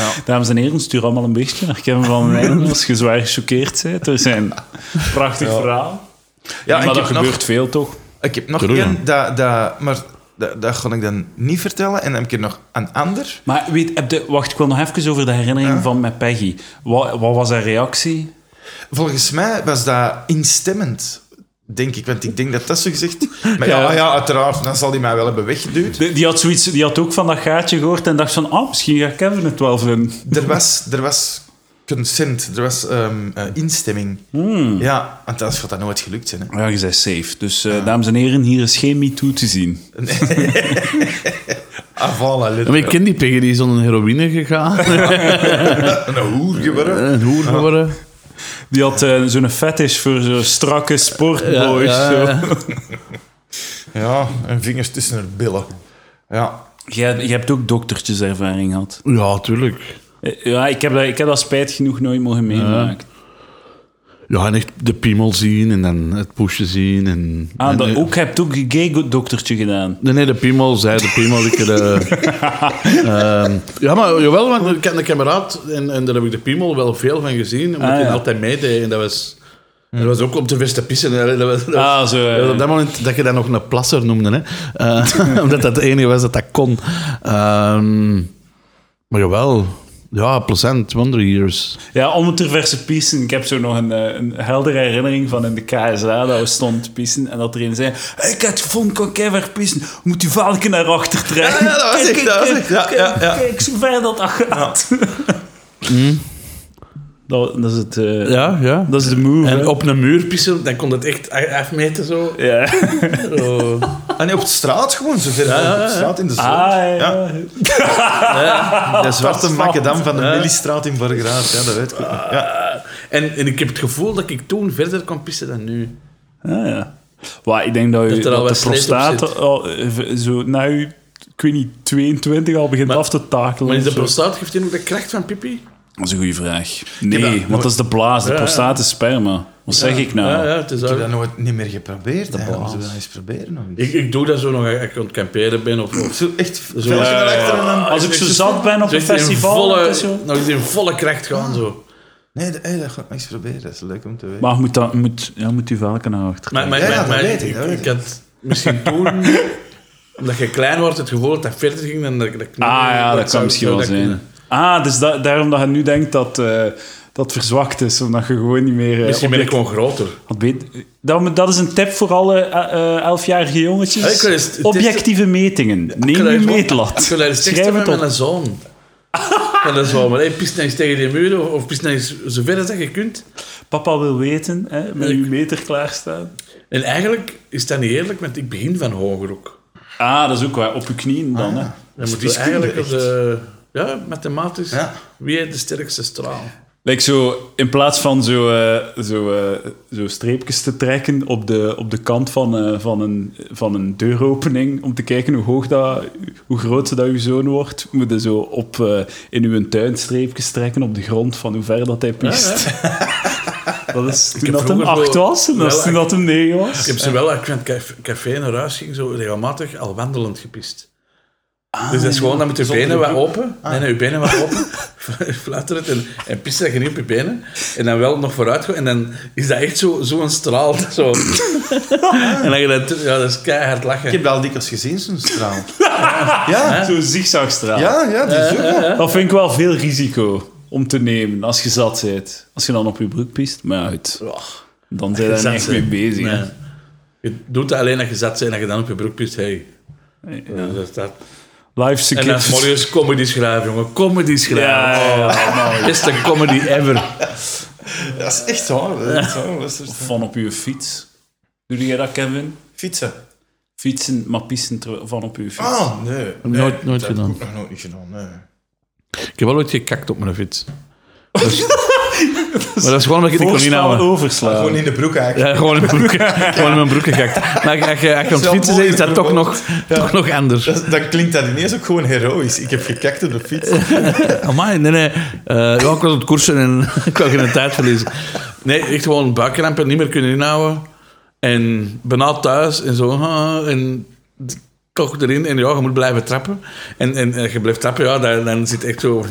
A: Dames en heren, stuur allemaal een beetje naar Kevin van Wijnen als je zwaar gechoqueerd bent. Er zijn prachtig verhaal.
C: Ja, en
A: maar
C: ik
A: dat
C: heb nog
A: gebeurt veel, toch?
C: Ik heb nog
B: Doe dan.
C: één, dat, dat, maar dat, dat kon ik dan niet vertellen. En dan heb ik er nog een ander.
A: Maar weet, heb de, wacht, ik wil nog even over de herinnering van met Peggy. Wat, wat was haar reactie?
C: Volgens mij was dat instemmend, denk ik. Want ik denk dat dat zo gezegd... Maar ja, ja uiteraard, dan zal hij mij wel hebben weggeduwd.
A: Die, die had zoiets, die had ook van dat gaatje gehoord en dacht van, ah, misschien gaat Kevin het wel vinden.
C: Er was, er was consent, er was ehm, eh, instemming. Ja, want anders gaat dat nooit gelukt zijn. Hè.
A: Ja, je zei safe. Dus eh, dames en heren, hier is geen MeToo te zien.
C: Ah, voilà,
B: Ja, maar ik
C: letterlijk.
B: ken die piggy, die is aan een heroïne gegaan. eh,
C: Een hoer geworden.
B: een hoer geworden.
A: Die had eh, zo'n fetish voor zo'n strakke sportboys.
B: Ja,
A: zo.
B: ja,
C: Ja, en vingers tussen haar billen. Ja.
A: Jij, jij hebt ook doktertjeservaring gehad.
B: Ja, tuurlijk.
A: Eh, Ja, ik heb, dat, ik heb dat spijt genoeg nooit mogen meemaken.
B: Ja, en echt de piemel zien en dan het poesje zien. En,
A: Ah,
B: en-
A: dat, ook, je hebt ook een gay doktertje gedaan.
B: Nee, nee, de piemel, zij de piemel. Ik, de, Ehm, ja, maar jawel, want ik ken de kameraad en, en daar heb ik de piemel wel veel van gezien. Omdat
A: Ah,
B: hij
A: ja.
B: altijd meedeed en dat was... Dat was ook om te veste pissen. hè. Dat was, dat was-
A: Ah, zo. eh.
B: Ja, op dat moment dat je dat nog een plasser noemde, hè. Eh, omdat dat het enige was dat dat kon. Ehm, maar jawel, ja, Plezant, Wonder Years.
A: Ja, om het ter verse pissen. Ik heb zo nog een, eh, een heldere herinnering van in de KSA dat we stonden te pissen en dat er een zei: Ik had gevonden, kan ik even pissen. Moet je valken naar achter trekken.
B: Ja, ja, dat was
A: Kijk,
B: ik,
A: kijk,
B: dat was
A: kijk,
B: ik. Ja,
A: kijk,
B: ja, ja.
A: Kijk, zo ver dat dat gaat. Dat, dat is het. eh,
B: Mm. Ja, ja.
A: Dat is de move.
B: En
A: hè.
B: op een muur pissen, dan kon dat echt af meten zo.
A: Ja.
B: Zo.
C: En Ah, op de straat gewoon, zo ver mogelijk op de straat in de zon.
A: Ah,
C: ja.
A: ja.
C: de zwarte
A: verstand.
C: makkedam van de Millistraat in Borgerhout. Ja, dat weet ik. Ja.
B: En, en ik heb het gevoel dat ik toen verder kan pissen dan nu.
A: Ah, ja. Maar ik denk dat, u,
B: Dat er al
A: dat
B: wat
A: de
B: slijt op
A: prostaat
B: zit.
A: al, eh, v- zo na u, ik weet niet, 22 al begint af te takelen.
B: Maar is de
A: of zo.
B: prostaat geeft die ook de kracht van pipi?
A: Dat is een goede vraag.
C: heb
A: Nee,
C: dat-
A: want dat is de blaas. De
B: ja.
A: prostaat is sperma. Wat zeg ik nou?
B: Ja, ja, het is
C: Ik heb
B: ook-
C: dat nooit niet meer geprobeerd. hè. Moeten we dat eens proberen? nog eens?
B: ik, ik doe dat zo nog als ik aan het kamperen ben. Of, of
C: Zo echt
B: zo.
C: velgen erachter en dan...
A: eh, Als ik zo zat ben op
B: Zo
A: een
B: echt in
A: festival...
B: volle-
A: dat is zo. Ah.
B: nog eens in volle kracht gaan zo.
C: Nee, dat, hey, dat ga ik eens proberen. Dat is leuk om te weten.
A: Maar je moet, dat, moet, ja, moet u vaker naar achter.
B: Maar, maar,
C: Ja, ja,
B: maar-
C: dat
B: maar
C: weet ik, dat weet
B: ik had misschien toen, omdat je klein wordt, het gevoel dat dat verder ging dan dat ik... Nou, dat ik nu-
A: ah ja, dat
B: zou-
A: kan misschien
B: zou
A: wel
B: dat
A: zijn.
B: kunnen.
A: Ah, dus da- daarom dat je nu denkt dat... eh, dat verzwakt is, omdat je gewoon niet meer... eh,
B: Misschien
A: op
B: ben
A: je-
B: ik gewoon groter.
A: Want weet- Dat, dat is een tip voor alle eh, eh, elfjarige jongetjes.
B: Ja, ik wil eens testen.
A: Objectieve metingen.
B: Ik
A: Neem
B: wil daar
A: je
B: eens-
A: meetlat.
B: Ik wil daar eens teksten
A: Schrijf
B: van
A: het op.
B: mijn zoon. Van de zomer. Hey, pis nou eens tegen die muur of, of pis nou eens zo ver als dat je kunt.
A: Papa wil weten, hè, met uw meter klaarstaan.
B: En eigenlijk is dat niet eerlijk, want ik begin van hoger ook.
A: Ah, dat is ook waar. Op je knieën
B: Ah,
A: dan, hè.
B: Dan moet je
C: Wiskunde,
B: eigenlijk
C: echt.
B: op de, ja, mathematisch
C: Ja.
B: wie heeft de sterkste straal.
A: Like zo, in plaats van zo, eh, zo, eh, zo streepjes te trekken op de, op de kant van, eh, van, een, van een deuropening, om te kijken hoe hoog dat, hoe groot dat uw zoon wordt, moet je zo op, eh, in uw tuin streepjes trekken op de grond van hoe ver dat hij piest. Dat is toen dat hem
B: vroeger
A: acht
B: wel-
A: was en dat is
B: wel
A: toen dat hem negen was.
B: Ik heb ze wel, als ik van het caf- café naar huis ging, zo regelmatig al wandelend gepist.
C: Ah,
B: dus dat is gewoon, dan met je benen wat open. Nee, nee, je benen wat open. Fluiter het en, en pist dat je niet op je benen. En dan wel nog vooruit gaan. En dan is dat echt zo'n zo zo'n straal. Zo. en dan je dat, ja, dat is keihard lachen.
C: Ik heb dat al dikwijls gezien, zo'n straal. Ja,
A: Zo'n zigzagstraal.
C: ja, ja, die is ook wel.
A: Dat vind ik wel veel risico om te nemen als je zat bent. Als je dan op je broek piest, maar ja, goed.
B: Ja,
A: Dan zijn we
B: zat
A: daar echt
B: zijn.
A: mee bezig. hè.
B: nee. Je doet dat alleen als je zat bent en dat je dan op je broek pist. Hey. Dus
A: Ja.
B: Dat is dat.
A: Live security.
B: En dan is morgens comedy schrijven, jongen. Comedy schrijven.
A: Ja, ja, ja,
B: Oh, beste comedy ever.
C: Dat is echt waar. Dat is echt waar. Dat is echt-
A: Van op uw fiets. Doe jij dat, Kevin?
C: Fietsen.
A: Fietsen, maar pissen ter- van op uw fiets.
C: Ah, nee. nee.
B: nooit- nooit
C: dat heb ik
B: gedaan.
C: ook nog nooit niet gedaan, nee.
B: Ik heb wel ooit gekakt op mijn fiets. Dat is- maar dat is gewoon omdat ik het niet kon
A: Voorspel
B: inhouden.
A: overslaan.
C: Gewoon in de broek eigenlijk.
B: Ja, gewoon in mijn broeken, gewoon in mijn broeken gekakt. Maar als je, als je aan het
C: Zelf
B: fietsen bent, is dat toch
C: mooi
B: nog, toch nog anders.
C: Dat, dat klinkt dat ineens ook gewoon heroïs. Ik heb gekakt op de fiets.
B: Amai, nee, nee. Eh, ja, ik was op het koersen en ik wou geen tijd verliezen. Nee, echt gewoon buikkrampen, niet meer kunnen inhouden. En bijna thuis en zo. ah, En d- toch erin. En ja, je moet blijven trappen. En, en, en je blijft trappen, ja, dan, dan zit echt zo...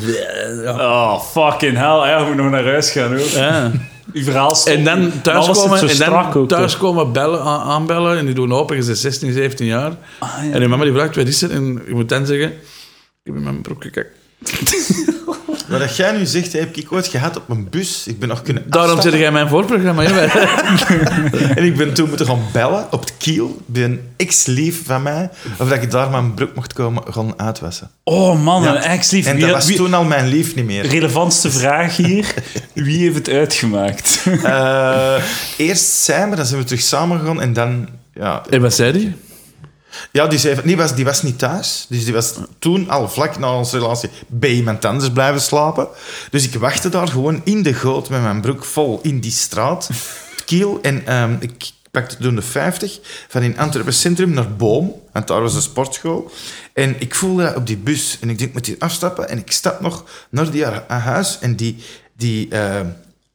B: Ja.
A: Oh, fucking hell. Ja, we moeten nog naar huis gaan, hoor.
B: Ja.
A: Die verhaal stopt
B: En
A: niet.
B: dan
A: Maar was het
B: thuiskomen
A: zo
B: en
A: strak
B: dan
A: ook, hè?
B: thuiskomen bellen, a- aanbellen en die doen open. Je bent 16, 17 jaar.
A: Ah, ja.
B: En je mama die vraagt, wat is er? En je moet dan zeggen, ik heb in mijn broek gekakt.
C: Wat dat jij nu zegt, heb ik ooit gehad op mijn bus. Ik ben nog kunnen
B: Daarom
C: afstappen.
B: zit jij in mijn voorprogramma. hè?
C: En ik ben toen moeten gaan bellen op het kiel bij een ex-lief van mij. Of dat ik daar mijn broek mocht komen gaan uitwassen.
A: Oh man,
C: Ja.
A: een ex-lief.
C: En
A: Wie-
C: dat was
A: wie-
C: toen al mijn lief niet meer.
A: Relevantste vraag hier. Wie heeft het uitgemaakt?
C: Eh, eerst zijn we, dan zijn we terug samen gegaan en dan... Ja,
B: En wat zei die?
C: Ja, die, zei, van- die, was, die was niet thuis. Dus die was toen al vlak na onze relatie bij iemand anders blijven slapen. Dus ik wachtte daar gewoon in de goot met mijn broek vol in die straat. Kiel. En ehm, ik pakte toen de 50 van in Antwerpen Centrum naar Boom. Want daar was de sportschool. En ik voelde dat op die bus. En ik denk, ik moet hier afstappen. En ik stap nog naar die haar- haar huis. En die... die ehm,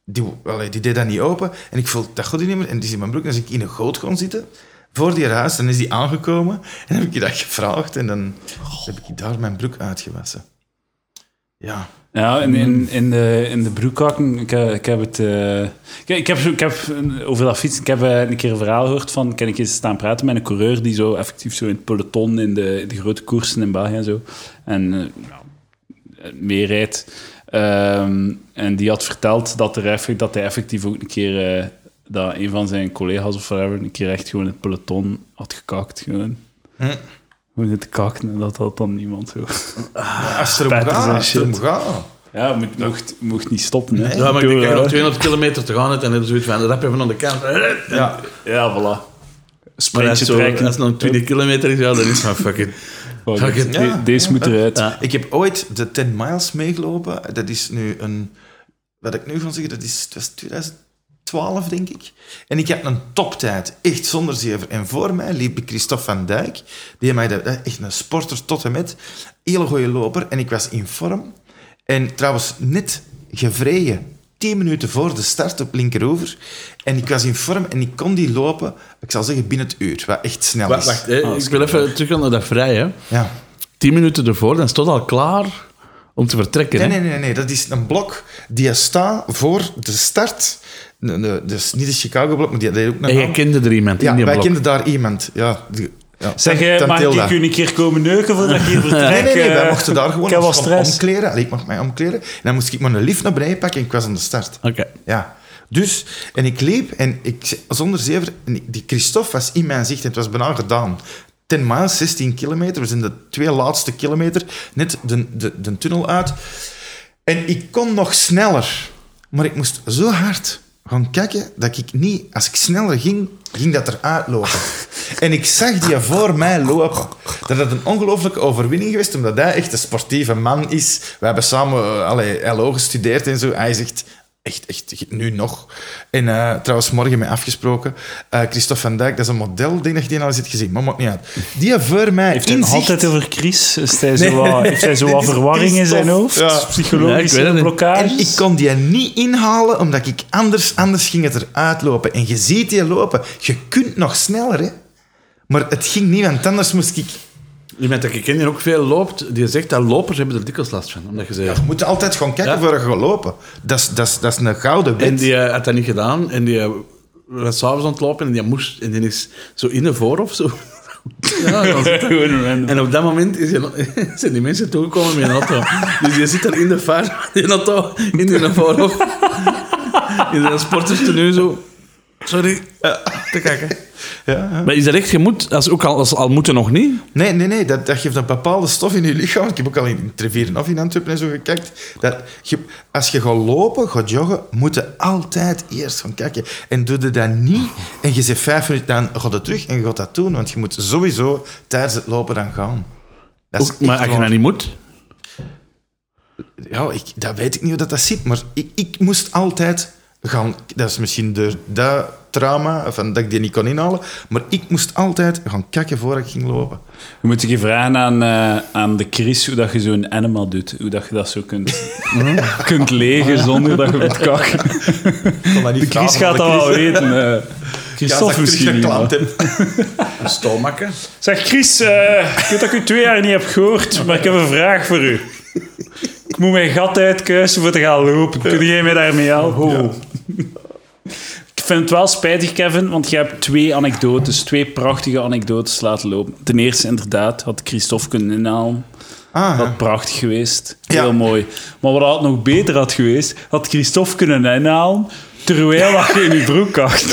C: die, allee, die deed dat niet open. En ik voel dat goed niet meer. En die is in mijn broek. En als ik in een goot kon zitten, voor die huis, dan is die aangekomen. En heb ik je dat gevraagd. En dan heb ik daar mijn broek uitgewassen. Ja.
A: Ja, in, in, in de, in de broekhakken, ik, eh, ik heb het... eh, ik, ik heb, zo- ik heb een- over dat fietsen, ik heb eh, een keer een verhaal gehoord van... Ken ik eens staan praten met een coureur die zo effectief zo in het peloton, in de, in de grote koersen in België en zo. En eh, nou, meer rijdt. Ehm, en die had verteld dat, er effe- dat hij effectief ook een keer... eh, dat een van zijn collega's of whatever een keer echt gewoon in het peloton had gekakt. Gewoon.
C: Hm.
A: Gewoon in het kakken en dat had dan niemand zo.
C: Als het erom
A: Petters en
C: gaat, als het erom
A: shit.
C: gaat.
A: Ja, mocht, mocht, mocht niet stoppen. Hè.
B: Ja, maar ik
A: Door,
B: denk dat je
A: eh,
B: nog 200 kilometer te gaan hebt en dan zoiets van, rap even aan de kant.
C: Ja.
A: Ja, voilà.
B: Maar als
A: Sprintje
B: het zo- als
A: trekken.
B: het nog 20 kilometer is, ja, dan is het van Ah, fuck it.
A: Fuck
B: Fuck
A: it.
B: it.
A: De-
C: Ja,
A: deze
C: ja,
A: moet
C: ja.
A: eruit.
B: Ja.
C: Ik heb ooit de 10 miles meegelopen. Dat is nu een... Wat ik nu van zeggen, dat is, het was 2012, denk ik. En ik heb een toptijd, echt zonder zever. En voor mij liep Christophe van Dijk. Die mij dat, dat is echt een sporter tot en met. Hele goede loper. En ik was in vorm. En trouwens, net gevreden. 10 minuten voor de start op linkeroever. En ik was in vorm en ik kon die lopen, ik zal zeggen, binnen het uur. Wat echt snel
B: Wacht,
C: is.
B: wacht, hè. ik wil even terug naar dat vrij, hè.
C: Ja.
B: 10 minuten ervoor, dan stond al klaar om te vertrekken.
C: Nee,
B: hè.
C: nee, nee, nee. Dat is een blok die staat voor de start. Nee, nee, dus niet de Chicago-blok, maar die die ook nog.
B: En jij kende er iemand
C: ja,
B: in die
C: wij
B: blok.
C: kenden daar iemand. Ja, die- ja.
A: Zeg, eh,
C: Tan-
A: mag
C: Tantilda.
A: ik u een keer komen neuken voordat ik hier vertrek?
C: Nee, nee, nee, wij
A: eh?
C: mochten daar gewoon
A: Ik heb wel
C: ons om-
A: stress.
C: omkleden. Allee, ik mocht mij omkleden. En dan moest ik mijn lift naar beneden pakken en ik was aan de start.
B: Oké.
C: Ja. Dus, en ik liep en ik, zonder zever, en ik- die Christophe was in mijn zicht en het was bijna gedaan. 10 miles, 16 kilometer, we zijn de twee laatste kilometer, net de, de, de tunnel uit. En ik kon nog sneller, maar ik moest zo hard gaan kijken dat ik niet, als ik sneller ging, ging dat eruit lopen. En ik zag die voor mij lopen. Dat had een ongelooflijke overwinning geweest, omdat hij echt een sportieve man is. We hebben samen eh, allee, LO gestudeerd en zo. Hij zegt, echt, echt, nu nog. En eh, trouwens, morgen mee afgesproken, eh, Christophe van Dijk, dat is een model, ik denk dat je die al eens hebt gezien, maar maakt niet uit. Die voor mij
A: Heeft hij
C: in
A: het
C: zicht...
A: altijd over Chris? Is hij zo wat, heeft hij zo wat
C: Dit is
A: verwarring in zijn hoofd?
C: Christophe. Ja.
B: Ja, ik
A: Psychologische
B: weet het niet.
A: blokkades?
C: En ik kon die niet inhalen, omdat ik anders, anders ging het eruit lopen. En je ziet die lopen. Je kunt nog sneller, hè. Maar het ging niet, want anders moest ik...
B: Iemand dat ik ken die ook veel loopt, die zegt dat lopers hebben er dikwijls last van. Omdat je zei,
C: Je moet altijd gewoon kijken
B: Ja.
C: voor je gaat lopen. Dat is, dat is, dat is een gouden
B: En
C: wet.
B: die eh, had dat niet gedaan. En die eh, was s'avonds aan het lopen en die moest. En die is zo in de voor of zo. Ja, dan zit hij.
A: Gewoon random.
B: en op dat moment is die- zijn die mensen toegekomen met een auto. Dus je zit daar in de vaart met een auto, in de voorhof. In de sporters nu zo. Sorry, te kijken. Maar is dat echt, je moet, als, ook al, als, al moeten nog niet.
C: Nee, nee, nee. Dat, dat geeft een bepaalde stof in je lichaam. Ik heb ook al in Trevieren of in Antwerpen en zo gekijkt. Dat je, als je gaat lopen, gaat joggen, moet je altijd eerst gaan kijken. En doe je dat niet, en je zit vijf minuten, dan gaat het terug en je gaat dat doen. Want je moet sowieso tijdens het lopen dan gaan. Dat is
B: Ook, maar
C: echt
B: als je
C: waar.
B: dat niet moet.
C: Ja, ik, dat weet ik niet hoe dat, dat zit, maar ik, ik moest altijd gaan... Dat is misschien de, dat trauma, van, dat ik die niet kon inhalen, maar ik moest altijd gaan kijken voor ik ging lopen.
A: Je moet je vragen aan, eh, aan de Chris hoe dat je zo'n animal doet. Hoe dat je dat zo kunt, kunt legen zonder dat je moet kakken.
C: Ik kon dat niet
A: De Chris
C: vragen,
A: gaat dat
C: maar
A: wel
C: Chris-
A: weten. eh.
C: Ja,
A: Christophe
C: dat ik
A: misschien
C: terug
A: niet, maar-
C: geklampt heb.
B: Een stolmakken.
A: Zeg Chris, eh, ik weet dat ik u twee jaar niet heb gehoord, maar ik heb een vraag voor u. Ik moet mijn gat uitkuisen voor te gaan lopen. Kun jij mij daarmee helpen? Ik vind het wel spijtig, Kevin, want je hebt twee anekdotes, twee prachtige anekdotes laten lopen. Ten eerste, inderdaad, had Christophe kunnen inhalen.
C: Ah,
A: Dat
C: ja.
A: had prachtig geweest.
C: Ja.
A: Heel mooi. Maar wat had nog beter had geweest, had Christophe kunnen inhalen terwijl dat je in je broek had.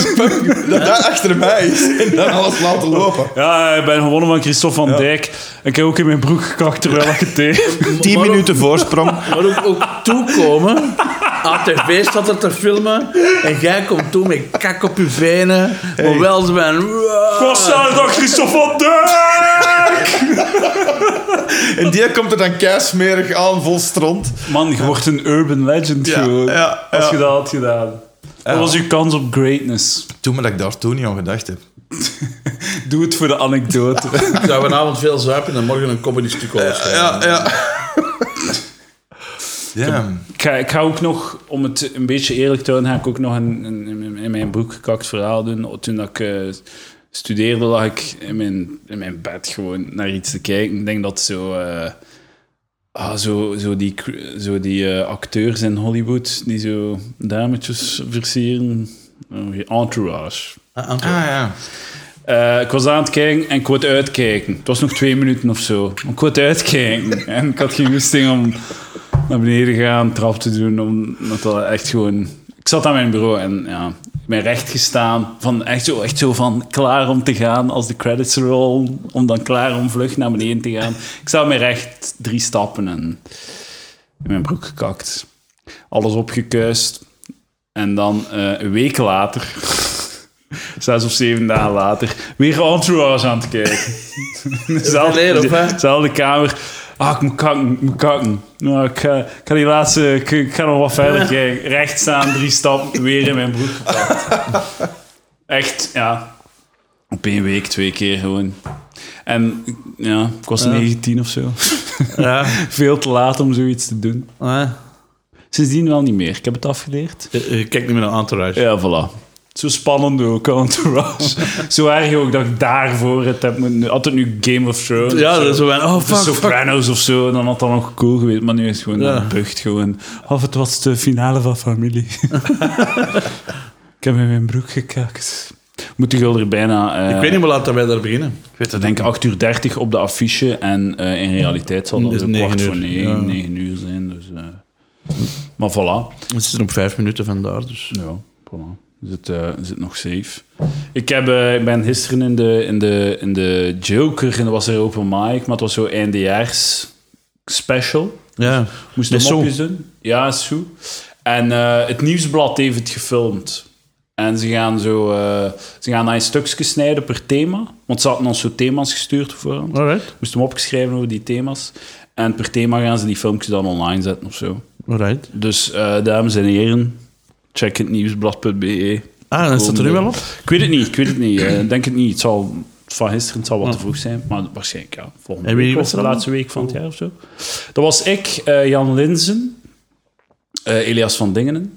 C: dat daar achter mij is en dan alles laten lopen.
A: Ja, ik ben gewonnen van Christophe van Dijk. En ik heb ook in mijn broek gekakt terwijl ik het deed.
C: Tien minuten voorsprong.
B: Maar ook, ook toekomen ATV staat er te filmen en jij komt toen met kak op je venen, maar wel zo van...
A: Was daar dan Christophe van Dijk?
C: En die komt er dan keismerig aan, vol stront.
A: Man, je wordt een urban legend
C: Ja,
A: gewoon.
C: ja,
A: Als
C: ja.
A: je dat had gedaan. Dat was je kans op greatness.
C: Toen maar dat ik daar toen niet aan gedacht heb.
A: Doe het voor de anekdote.
B: Ik zou vanavond veel zuipen en morgen een comedy stuk overschrijven.
C: Ja, ja. Damn.
A: ik, ga, ik ga ook nog, om het een beetje eerlijk te houden, ga ik ook nog een, een- in- in mijn broek gekakt verhaal doen. Toen dat ik eh, studeerde, lag ik in mijn, in mijn bed gewoon naar iets te kijken. Ik denk dat zo... eh, Ah, zo, zo die, cr- zo die eh, acteurs in Hollywood die zo dametjes versieren. Oh, entourage.
C: Ah ja.
A: Eh, ik was aan het kijken en ik wou het uitkijken. Het was nog twee minuten of zo. Maar Ik wou het uitkijken. En ik had geen goesting om naar beneden te gaan, trap te doen. Omdat dat echt gewoon... Ik zat aan mijn bureau en ja, ik ben recht gestaan. Van echt, zo, echt zo van klaar om te gaan als de credits rollen. Om dan klaar om vlug naar beneden te gaan. Ik sta op mijn recht drie stappen en in mijn broek gekakt. Alles opgekuist. En dan eh, een week later, zes of zeven dagen later, weer Entourage aan het kijken.
B: leer op, hè?
A: Zelfde kamer. Ah, ik moet kakken, ik moet kakken. Nou, ik, ga, ik ga die laatste, ik, ik ga nog wat verder kijken. Recht staan, drie stappen, weer in mijn broek gepakt. Echt, ja. Op één week, twee keer gewoon. En ja, ik was 19 of zo.
B: Ja.
A: Veel te laat om zoiets te doen.
B: Ah,
A: Sindsdien wel niet meer. Ik heb het afgeleerd.
B: eh, eh, Kijk niet meer naar Entourage.
A: Ja, voilà. Zo spannend ook, Entourage. zo erg ook dat ik daarvoor het heb moeten... Altijd nu Game of Thrones.
B: Ja,
A: of zo.
B: dat is zo van, oh
A: De
B: fuck, fuck.
A: Sopranos of zo, dan had dat nog cool geweest. Maar nu is het gewoon
B: Ja.
A: een bucht. Gewoon. Of het was de finale van familie. ik heb in mijn broek gekakt. Moet ik wel er bijna... eh,
B: Ik weet niet meer laten wij daar beginnen.
A: ik weet het, denk 8 uur 30 op de affiche. En eh, in realiteit zal dat
B: Dus
A: zo
B: negen
A: kwart voor
B: uur,
A: 9,
B: ja.
A: 9 uur zijn. Dus, eh, Maar voilà.
B: Het is er op vijf minuten vandaar, dus...
A: Ja, voilà. Is het, eh, is het nog safe? Ik, heb, eh, ik ben gisteren in de, in, de, in de Joker en dat was er open mic, maar het was zo eindejaars special.
B: Ja.
A: Moest de
B: Met Sue.
A: mopjes doen. Ja, Sue. En eh, het nieuwsblad heeft het gefilmd. En ze gaan zo, eh, ze gaan dan stukjes snijden per thema. Want ze hadden ons zo thema's gestuurd voor
B: Alright,
A: Moesten we opgeschreven over die thema's. En per thema gaan ze die filmpjes dan online zetten of zo.
B: alright.
A: Dus eh, dames en heren, check het nieuwsblad.be.
B: Ah, dan staat er nu wel op.
A: E. Ik weet het niet, ik weet het niet. eh, Ik denk het niet. Het zal van gisteren, het zal wat te vroeg zijn, maar waarschijnlijk ja. Volgende
B: En wie
A: week
B: was
A: of
B: er
A: de
B: dan?
A: laatste week van het jaar of zo. Dat was ik, eh, Jan Linzen, eh, Elias van Dingenen.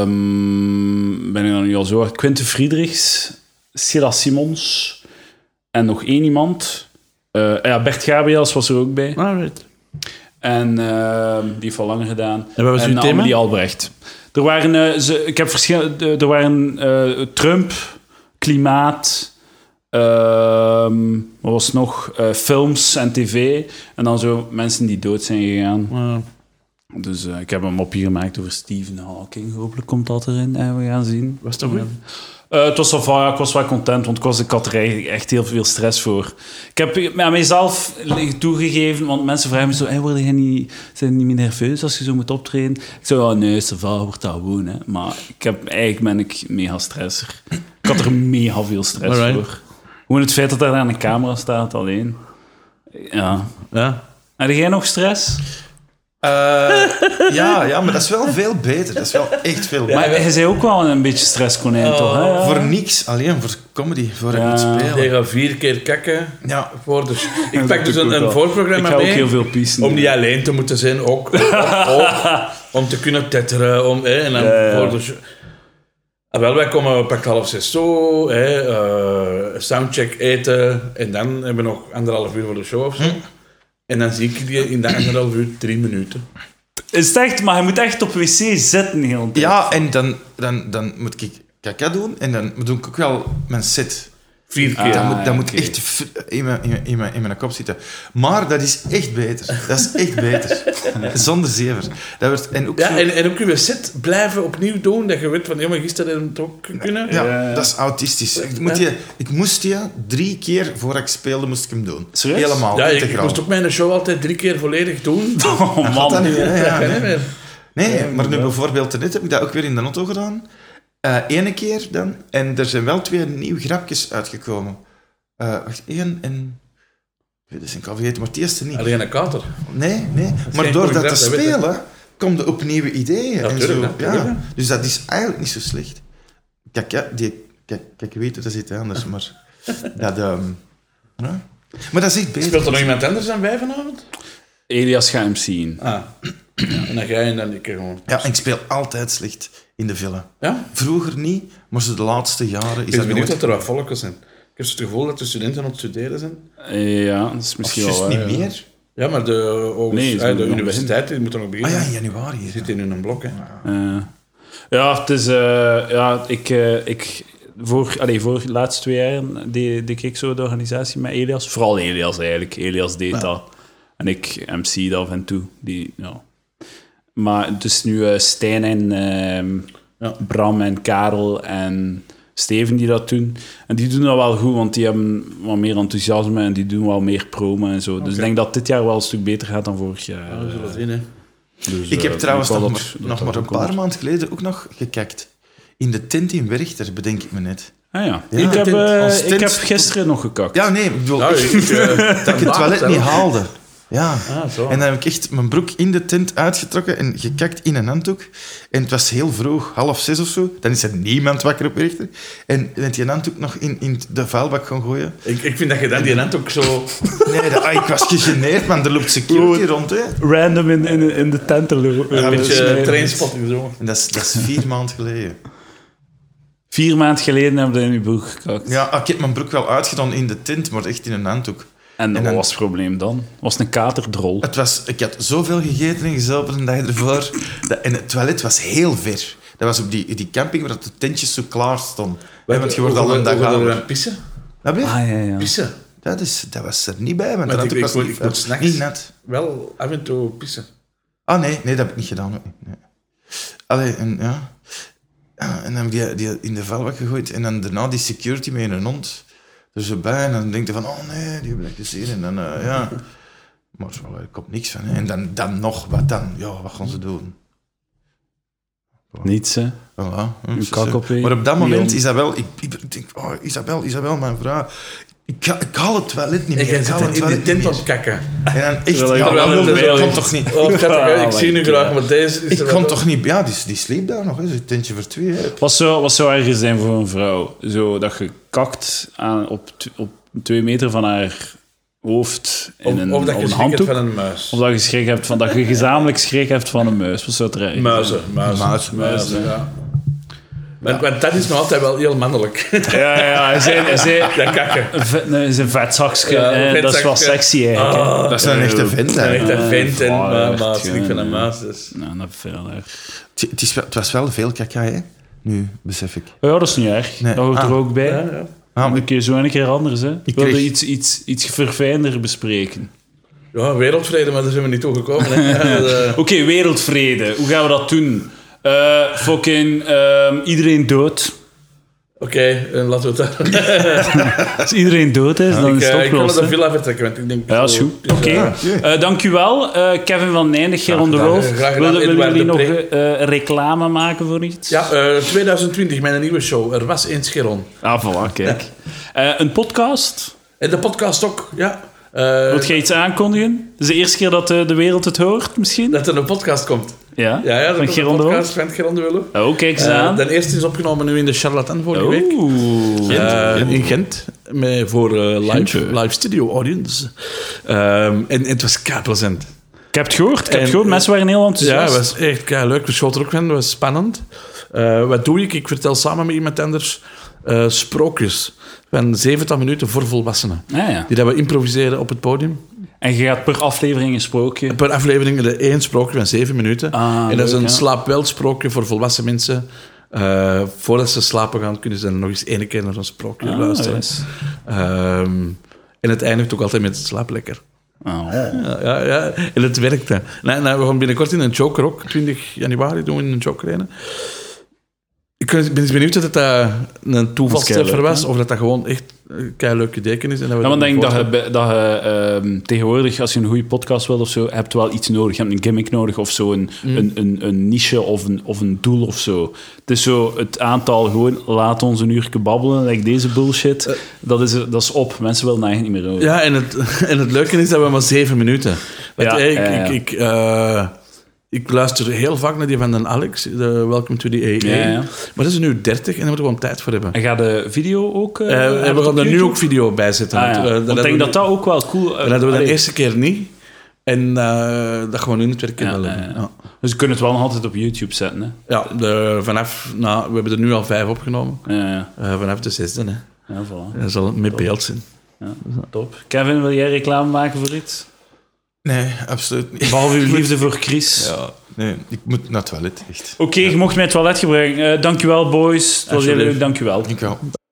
A: Ehm, ben ik dan nu al zo hard? Quinten Friedrichs, Silas Simons en nog één iemand. Eh, ja, Bert Gabriels was er ook bij.
B: Alright.
A: En ehm, die heeft al langer gedaan.
B: En wat was uw thema?
A: Annemarie Albrecht. Er waren, eh, ze, ik heb verschil, de- er waren eh, Trump, klimaat, ehm, wat was het nog? Eh, films en tv. En dan zo mensen die dood zijn gegaan.
B: Ah.
A: Dus eh, ik heb een mopje gemaakt over Stephen Hawking. Hopelijk komt dat erin en we gaan zien.
B: Was dat goed?
A: Eh, het was al van, ja, ik was wel content, want ik, was, ik had er eigenlijk echt heel veel stress voor. Ik heb aan mezelf toegegeven, want mensen vragen me zo, hey, word jij niet, zijn jullie niet meer nerveus als je zo moet optreden? Ik zei, ja, nee, ça va, wordt dat gewoon. Hè. Maar ik heb, eigenlijk ben ik mega stresser. Ik had er mega veel stress
B: Alright.
A: voor. Gewoon het feit dat daar aan de camera staat alleen. Ja.
B: Ja.
A: Heb jij nog stress?
C: Eh, ja, ja, maar dat is wel veel beter. Dat is wel echt veel beter.
A: maar jij zei ook wel een beetje stresskonijn, toch? Hè? Ja.
C: Voor niks, alleen voor comedy, voor ik moet
A: Ja.
C: spelen.
B: Jij gaat vier keer kakken.
C: Ja,
B: Voor de... Ik
A: Dat
B: pak dus
A: doe ik
B: een,
A: ook
B: een
A: al.
B: voorprogramma
A: Ik ga
B: mee.
A: ook heel veel piezen.
B: Om niet alleen te moeten zijn, ook. ook, ook, om te kunnen tetteren. Om, hè, en dan
A: Ja, ja.
B: voor de show- Ah, wel, wij komen pak half zes zo. Hè, eh, soundcheck eten. En dan hebben we nog anderhalf uur voor de show of zo. En dan zie ik die in de anderhalf uur drie minuten.
A: Is het echt, maar je moet echt op wc zitten heel de tijd.
C: ja en dan, dan, dan moet ik kaka doen en dan doe ik ook wel mijn set.
B: Vier keer.
C: Dan
A: Ah,
C: moet, dan moet
A: oké.
C: echt f- in mijn, in, mijn- in, mijn, in mijn kop zitten. Maar dat is echt beter. Dat is echt beter. Zonder zever. Dat werd, en ook zo-
B: Ja, en, en ook je set blijven opnieuw doen. Dat je weet van, ja, maar gisteren hebben we het ook kunnen.
C: ja,
A: Ja, ja.
C: dat is autistisch. Ik, moet je, ik moest je drie keer voor ik speelde, moest ik hem doen.
A: Serieus?
C: Helemaal.
B: Ja, ik, ik
C: integraal.
B: moest ook mijn show altijd drie keer volledig doen.
A: Oh
C: Dat
A: man.
C: niet meer, hè? Ja,
B: Dat kan
C: nee.
B: niet meer.
C: Nee, maar nu
A: inderdaad.
C: bijvoorbeeld net heb ik dat ook weer in de auto gedaan. Eh Eén keer dan. En er zijn wel twee nieuwe grapjes uitgekomen. Eh, wacht, één en... Dat is een vergeten, maar het eerste niet.
B: Alleen een kater.
C: Nee, nee. Maar
B: geen
C: door
B: goede
C: dat te
B: grap, dat weet ik.
C: spelen, komen er op nieuwe ideeën. en
B: Natuurlijk,
C: zo.
B: natuurlijk,
C: ja.
B: ja.
C: Dus dat is eigenlijk niet zo slecht. Kijk, ja, die, kijk, kijk je weet dat is iets anders, maar... Dat, ehm, ja. Maar dat is echt beter.
B: Speelt er nog iemand anders dan wij vanavond?
A: Elias gaat hem zien.
B: Ah. En dan ga je en dan ik gewoon.
C: Ja, en ik speel altijd slecht in de villa.
B: Ja?
C: Vroeger niet, maar zo de laatste jaren is
B: Ik
C: dat
B: ben benieuwd
C: nooit...
B: dat er wat volken zijn. Ik heb het gevoel dat de studenten aan het studeren zijn.
A: Ja, dat is
C: Of
A: misschien
C: juist
A: wel
C: niet
A: waar, ja.
C: meer.
B: Ja, maar de, hoges-
A: Nee, ze
B: ah, de
A: moeten nog
B: universiteit die moet er nog
C: Ah
B: beginnen.
C: ja, Ah. in januari. hier.
B: Zit in hun blok, hè.
A: Eh, ja, het is... eh, ja, ik... eh, ik voor, allee, voor de laatste twee jaar deed, deed ik zo de organisatie met Elias. Vooral Elias eigenlijk. Elias deed dat. En ik MC dat af en toe. Die, ja. Maar het is nu eh, Stijn en ehm,
B: Ja.
A: Bram en Karel en Steven die dat doen. En die doen dat wel goed, want die hebben wat meer enthousiasme en die doen wel meer promo en zo. Dus ik denk dat dit jaar wel een stuk beter gaat dan vorig jaar.
B: We zullen zien, hè.
A: Dus,
C: Ik
A: eh,
C: heb trouwens
A: hoop
C: nog,
A: wel
C: maar,
A: dat-
C: nog
A: dat
C: maar
A: dat
C: een paar
A: komt.
C: maanden geleden ook nog gekijkt. In de tent in Werchter, bedenk ik me net.
A: Ah ja.
C: Ja.
A: Ik, heb,
C: Als
A: eh,
C: tent-
A: ik heb gisteren nog gekakt.
C: Ja, nee, ik bedoel,
B: Nou,
C: ik-
B: ik, eh,
C: dat ik het toilet niet haalde. Ja.
B: Ah, zo.
C: En dan heb ik echt mijn broek in de tent uitgetrokken en gekakt in een handdoek. En het was heel vroeg, half zes of zo. Dan is er niemand wakker op Werchter. En met die handdoek nog in, in de vuilbak gaan gooien.
B: ik, ik vind dat je dan die hand ook zo...
C: Nee, dat, ah, ik was gegeneerd, man. Er loopt security rond, hè.
A: Random in, in, in de tent te lopen.
B: Een
A: Eh,
B: beetje
A: snijden.
B: eh, trainspotting zo.
C: En dat is, dat is vier maanden geleden.
A: Vier maanden geleden hebben we in uw broek gekakt.
C: Ja, ah, ik heb mijn broek wel uitgedaan in de tent, maar echt in een handdoek.
A: En,
C: En
A: wat
C: dan-
A: was het probleem dan? Was het een katerdrol?
C: Het was, ik had zoveel gegeten en gezellig een dag ervoor. Dat, en het toilet was heel ver. Dat was op die, die camping waar de tentjes zo klaar stonden. Hè, Want je wordt al een dag ouder.
B: aan pissen.
C: Wat ben je?
A: Ah ja, ja.
B: Pissen.
C: Dat, is, dat was er niet bij, want
B: Maar
C: dat
B: ik-
C: had ook
B: ik
C: pas
B: moet-
C: niet,
B: ik moet s'nachts-
C: niet net.
B: Wel af en toe pissen.
C: Ah nee, nee, dat heb ik niet gedaan. ook niet, Nee. Allee, en ja... Ja, En dan heb ik die, die in de vuilbak gegooid. En dan daarna die security met een hond er zo bij. En dan denk je van, oh nee, die heb ik gezien. En dan, eh, ja... Maar zo, er komt niks van. Hè. En dan, dan nog, wat dan? Ja, wat gaan ze doen?
A: Niets, hè.
C: Voilà. Hm,
A: Uw
C: zo,
A: kak
C: zo.
A: op je-
C: Maar op dat moment,
A: Leon.
C: Isabel, ik, ik denk, oh, Isabel, Isabel, mijn vrouw. Ik, ga- ik haal het toilet niet
B: En
C: meer.
B: jij
C: Ik
B: zit
C: haal
B: dan
C: het
B: in die
C: toilet
B: tent
C: niet
B: op
C: meer.
B: kakken.
C: En dan echt,
A: Terwijl ik
C: ja,
A: er wel
C: wel,
A: in
C: dat
A: de
C: dat
A: wereld-
C: kon toch niet.
B: Oh, schattig, hè, ik
A: Ah,
B: zie nu
A: like,
B: graag,
A: ja.
B: want deze is
C: Ik
B: er
C: kon
B: wel-
C: toch niet... Ja, die, die sliep daar nog, hè, zo'n tentje voor twee. Hè.
A: Wat zou, wat zou erger zijn voor een vrouw? Zo dat je kakt aan, op, t- op twee meter van haar hoofd in
B: Of,
A: een,
B: of
A: op
B: dat je
A: een
B: schrik hebt
A: handdoek.
B: van een muis.
A: Of dat je schrik hebt van dat je gezamenlijk schrik hebt van een muis. Wat zou het er erger zijn?
B: Muizen, muizen.
C: Muizen,
B: muizen, ja. Want, want dat is nog altijd wel heel mannelijk.
A: Ja, ja, ja. Hij zei- hij zei-
B: dat kakken.
A: Een vet- nee, Zijn vetzakje,
B: Ja, Ah.
A: eh,
B: een
A: dat is wel
B: vetzakje.
A: sexy eigenlijk. hè.
C: Dat is een echte vent,
B: En
C: hè.
B: echt een vent en
A: eh,
B: maar
A: echt,
B: maar het schrik
A: ja,
B: van een
A: ja.
B: muis. Dus.
A: Nou, dat vind ik wel erg.
C: Het- Het, is, wel- het was wel veel kaka, hè. Nu, besef ik.
A: Ja, dat is niet erg.
C: Nee.
A: Dat hoort
C: Ah.
A: er ook bij.
B: Ja, ja.
C: Ah,
A: Dan kun je zo een keer anders, hè. Ik wilde
C: kreeg-
A: iets, iets, iets verfijnder bespreken.
B: ja, wereldvrede, maar daar zijn we niet toe gekomen. Hè. Eh,
A: Oké, wereldvrede. Hoe gaan we dat doen? Eh, fucking ehm, iedereen dood.
B: Oké, en laten we het daar.
A: Als iedereen dood is, dan
B: Ik,
A: is het
B: eh, ik wil naar
A: opgelost.
B: de
A: hè.
B: villa vertrekken, want ik denk...
A: Ja, dat is goed. Oké.
C: Ah,
A: Eh, dankjewel, eh, Kevin van Nijnig, Geron de
B: gedaan.
A: Wolf.
B: Graag gedaan,
A: Wilden- Willen
B: Edouard
A: jullie nog
B: de
A: eh, reclame maken voor iets?
B: Ja, eh, 2020, mijn nieuwe show. Er was eens Geron.
A: Ah, voilà, kijk. Eh, een podcast?
B: En Eh, de podcast ook, ja. Eh,
A: Wilt jij iets aankondigen? Het is de eerste keer dat eh, de wereld het hoort, misschien?
B: dat er een podcast komt.
A: Ja,
B: Ja, ja dat
A: van
B: komt
A: Geron
B: een
A: de Wolf?
B: podcast van Geron de Wulf.
A: Oh, kijk eens
B: Eh,
A: aan. Oh,
B: de eerste is opgenomen nu in de Charlatan vorige week.
A: Oeh.
B: Eh, in Gent, met, voor eh, live, live studio audience. Ehm, en, en het was kaartplezant.
A: Ik heb het gehoord, ik heb
B: En- eh,
A: het gehoord. Mensen waren heel
B: Ja,
A: enthousiast.
B: het was echt kei leuk. We schoten er ook van, het was spannend. Eh, wat doe ik? Ik vertel samen met iemand anders eh, sprookjes van 70 minuten voor volwassenen.
A: Ah, ja.
B: Die dat we improviseren op het podium.
A: En je gaat per aflevering een sprookje. Oh.
B: Per aflevering de één sprookje van zeven minuten.
A: Ah,
B: en dat is
A: leuk,
B: een
A: ja.
B: slaapwel sprookje voor volwassen mensen. Eh, voordat ze slapen gaan, kunnen ze dan nog eens één keer naar een sprookje
A: Ah,
B: luisteren.
A: yes.
B: Ehm, en het eindigt ook altijd met slaap lekker.
A: Oh.
B: Ja, ja, ja. En het werkte. Nou, nou, we gaan binnenkort in een joker ook. 20 januari doen we in een joker rijden. Ik ben eens benieuwd of dat, eh, dat een
A: Dat is
B: toevalstreffer
A: keileuk,
B: was. Of dat dat gewoon echt eh, kei leuke deken is. En dat we
A: Ja,
B: dat
A: maar ik denk dat
B: voortaan-
A: je, bij- dat je ehm, tegenwoordig, als je een goede podcast wilt of zo, hebt wel iets nodig. Je hebt een gimmick nodig of zo, een,
B: Mm.
A: een, een, een niche of een, of een doel of zo. Het is zo het aantal gewoon, laat ons een uur babbelen, like deze bullshit.
B: Eh.
A: dat, is, dat is op. Mensen willen eigenlijk niet meer over.
B: Ja, en het, en het leuke is dat we maar zeven minuten. Want,
A: Ja,
B: eh, ik,
A: ja, ja.
B: Ik, ik, eh, ik luister heel vaak naar die van den Alex, de Welcome to the AA.
A: Ja, ja.
B: Maar dat is nu 30 en daar moeten we gewoon tijd voor hebben.
A: En gaat de video ook... eh,
B: Eh,
A: hebben
B: we gaan
A: op
B: er nu
A: YouTube?
B: ook video bij zetten.
A: Ah,
B: want,
A: ja.
B: eh,
A: Want ik
B: hadden
A: denk
B: we-
A: dat dat ook wel cool... eh,
B: dat hadden we de
A: allee.
B: eerste keer niet. En eh, dat gaan we nu het werk in
A: Ja,
B: willen.
A: ja, ja.
B: Ja.
A: Dus we kunnen het wel nog altijd op YouTube zetten, hè.
B: Ja, de, vanaf, nou, we hebben er nu al vijf opgenomen.
A: Ja, ja.
B: Eh, vanaf de zesde, hè.
A: ja, voilà.
B: Dat zal met beeld zijn.
A: Top. Kevin, wil jij reclame maken voor iets?
C: Nee, absoluut niet.
A: Behalve uw liefde voor Chris.
C: Ja, nee, ik moet naar het toilet, echt.
A: Oh. Oké, je mocht mij het toilet gebruiken. Eh, dankjewel, boys. Het was heel
B: Alsjeblieft.
A: leuk, dankjewel.
C: Ik wel.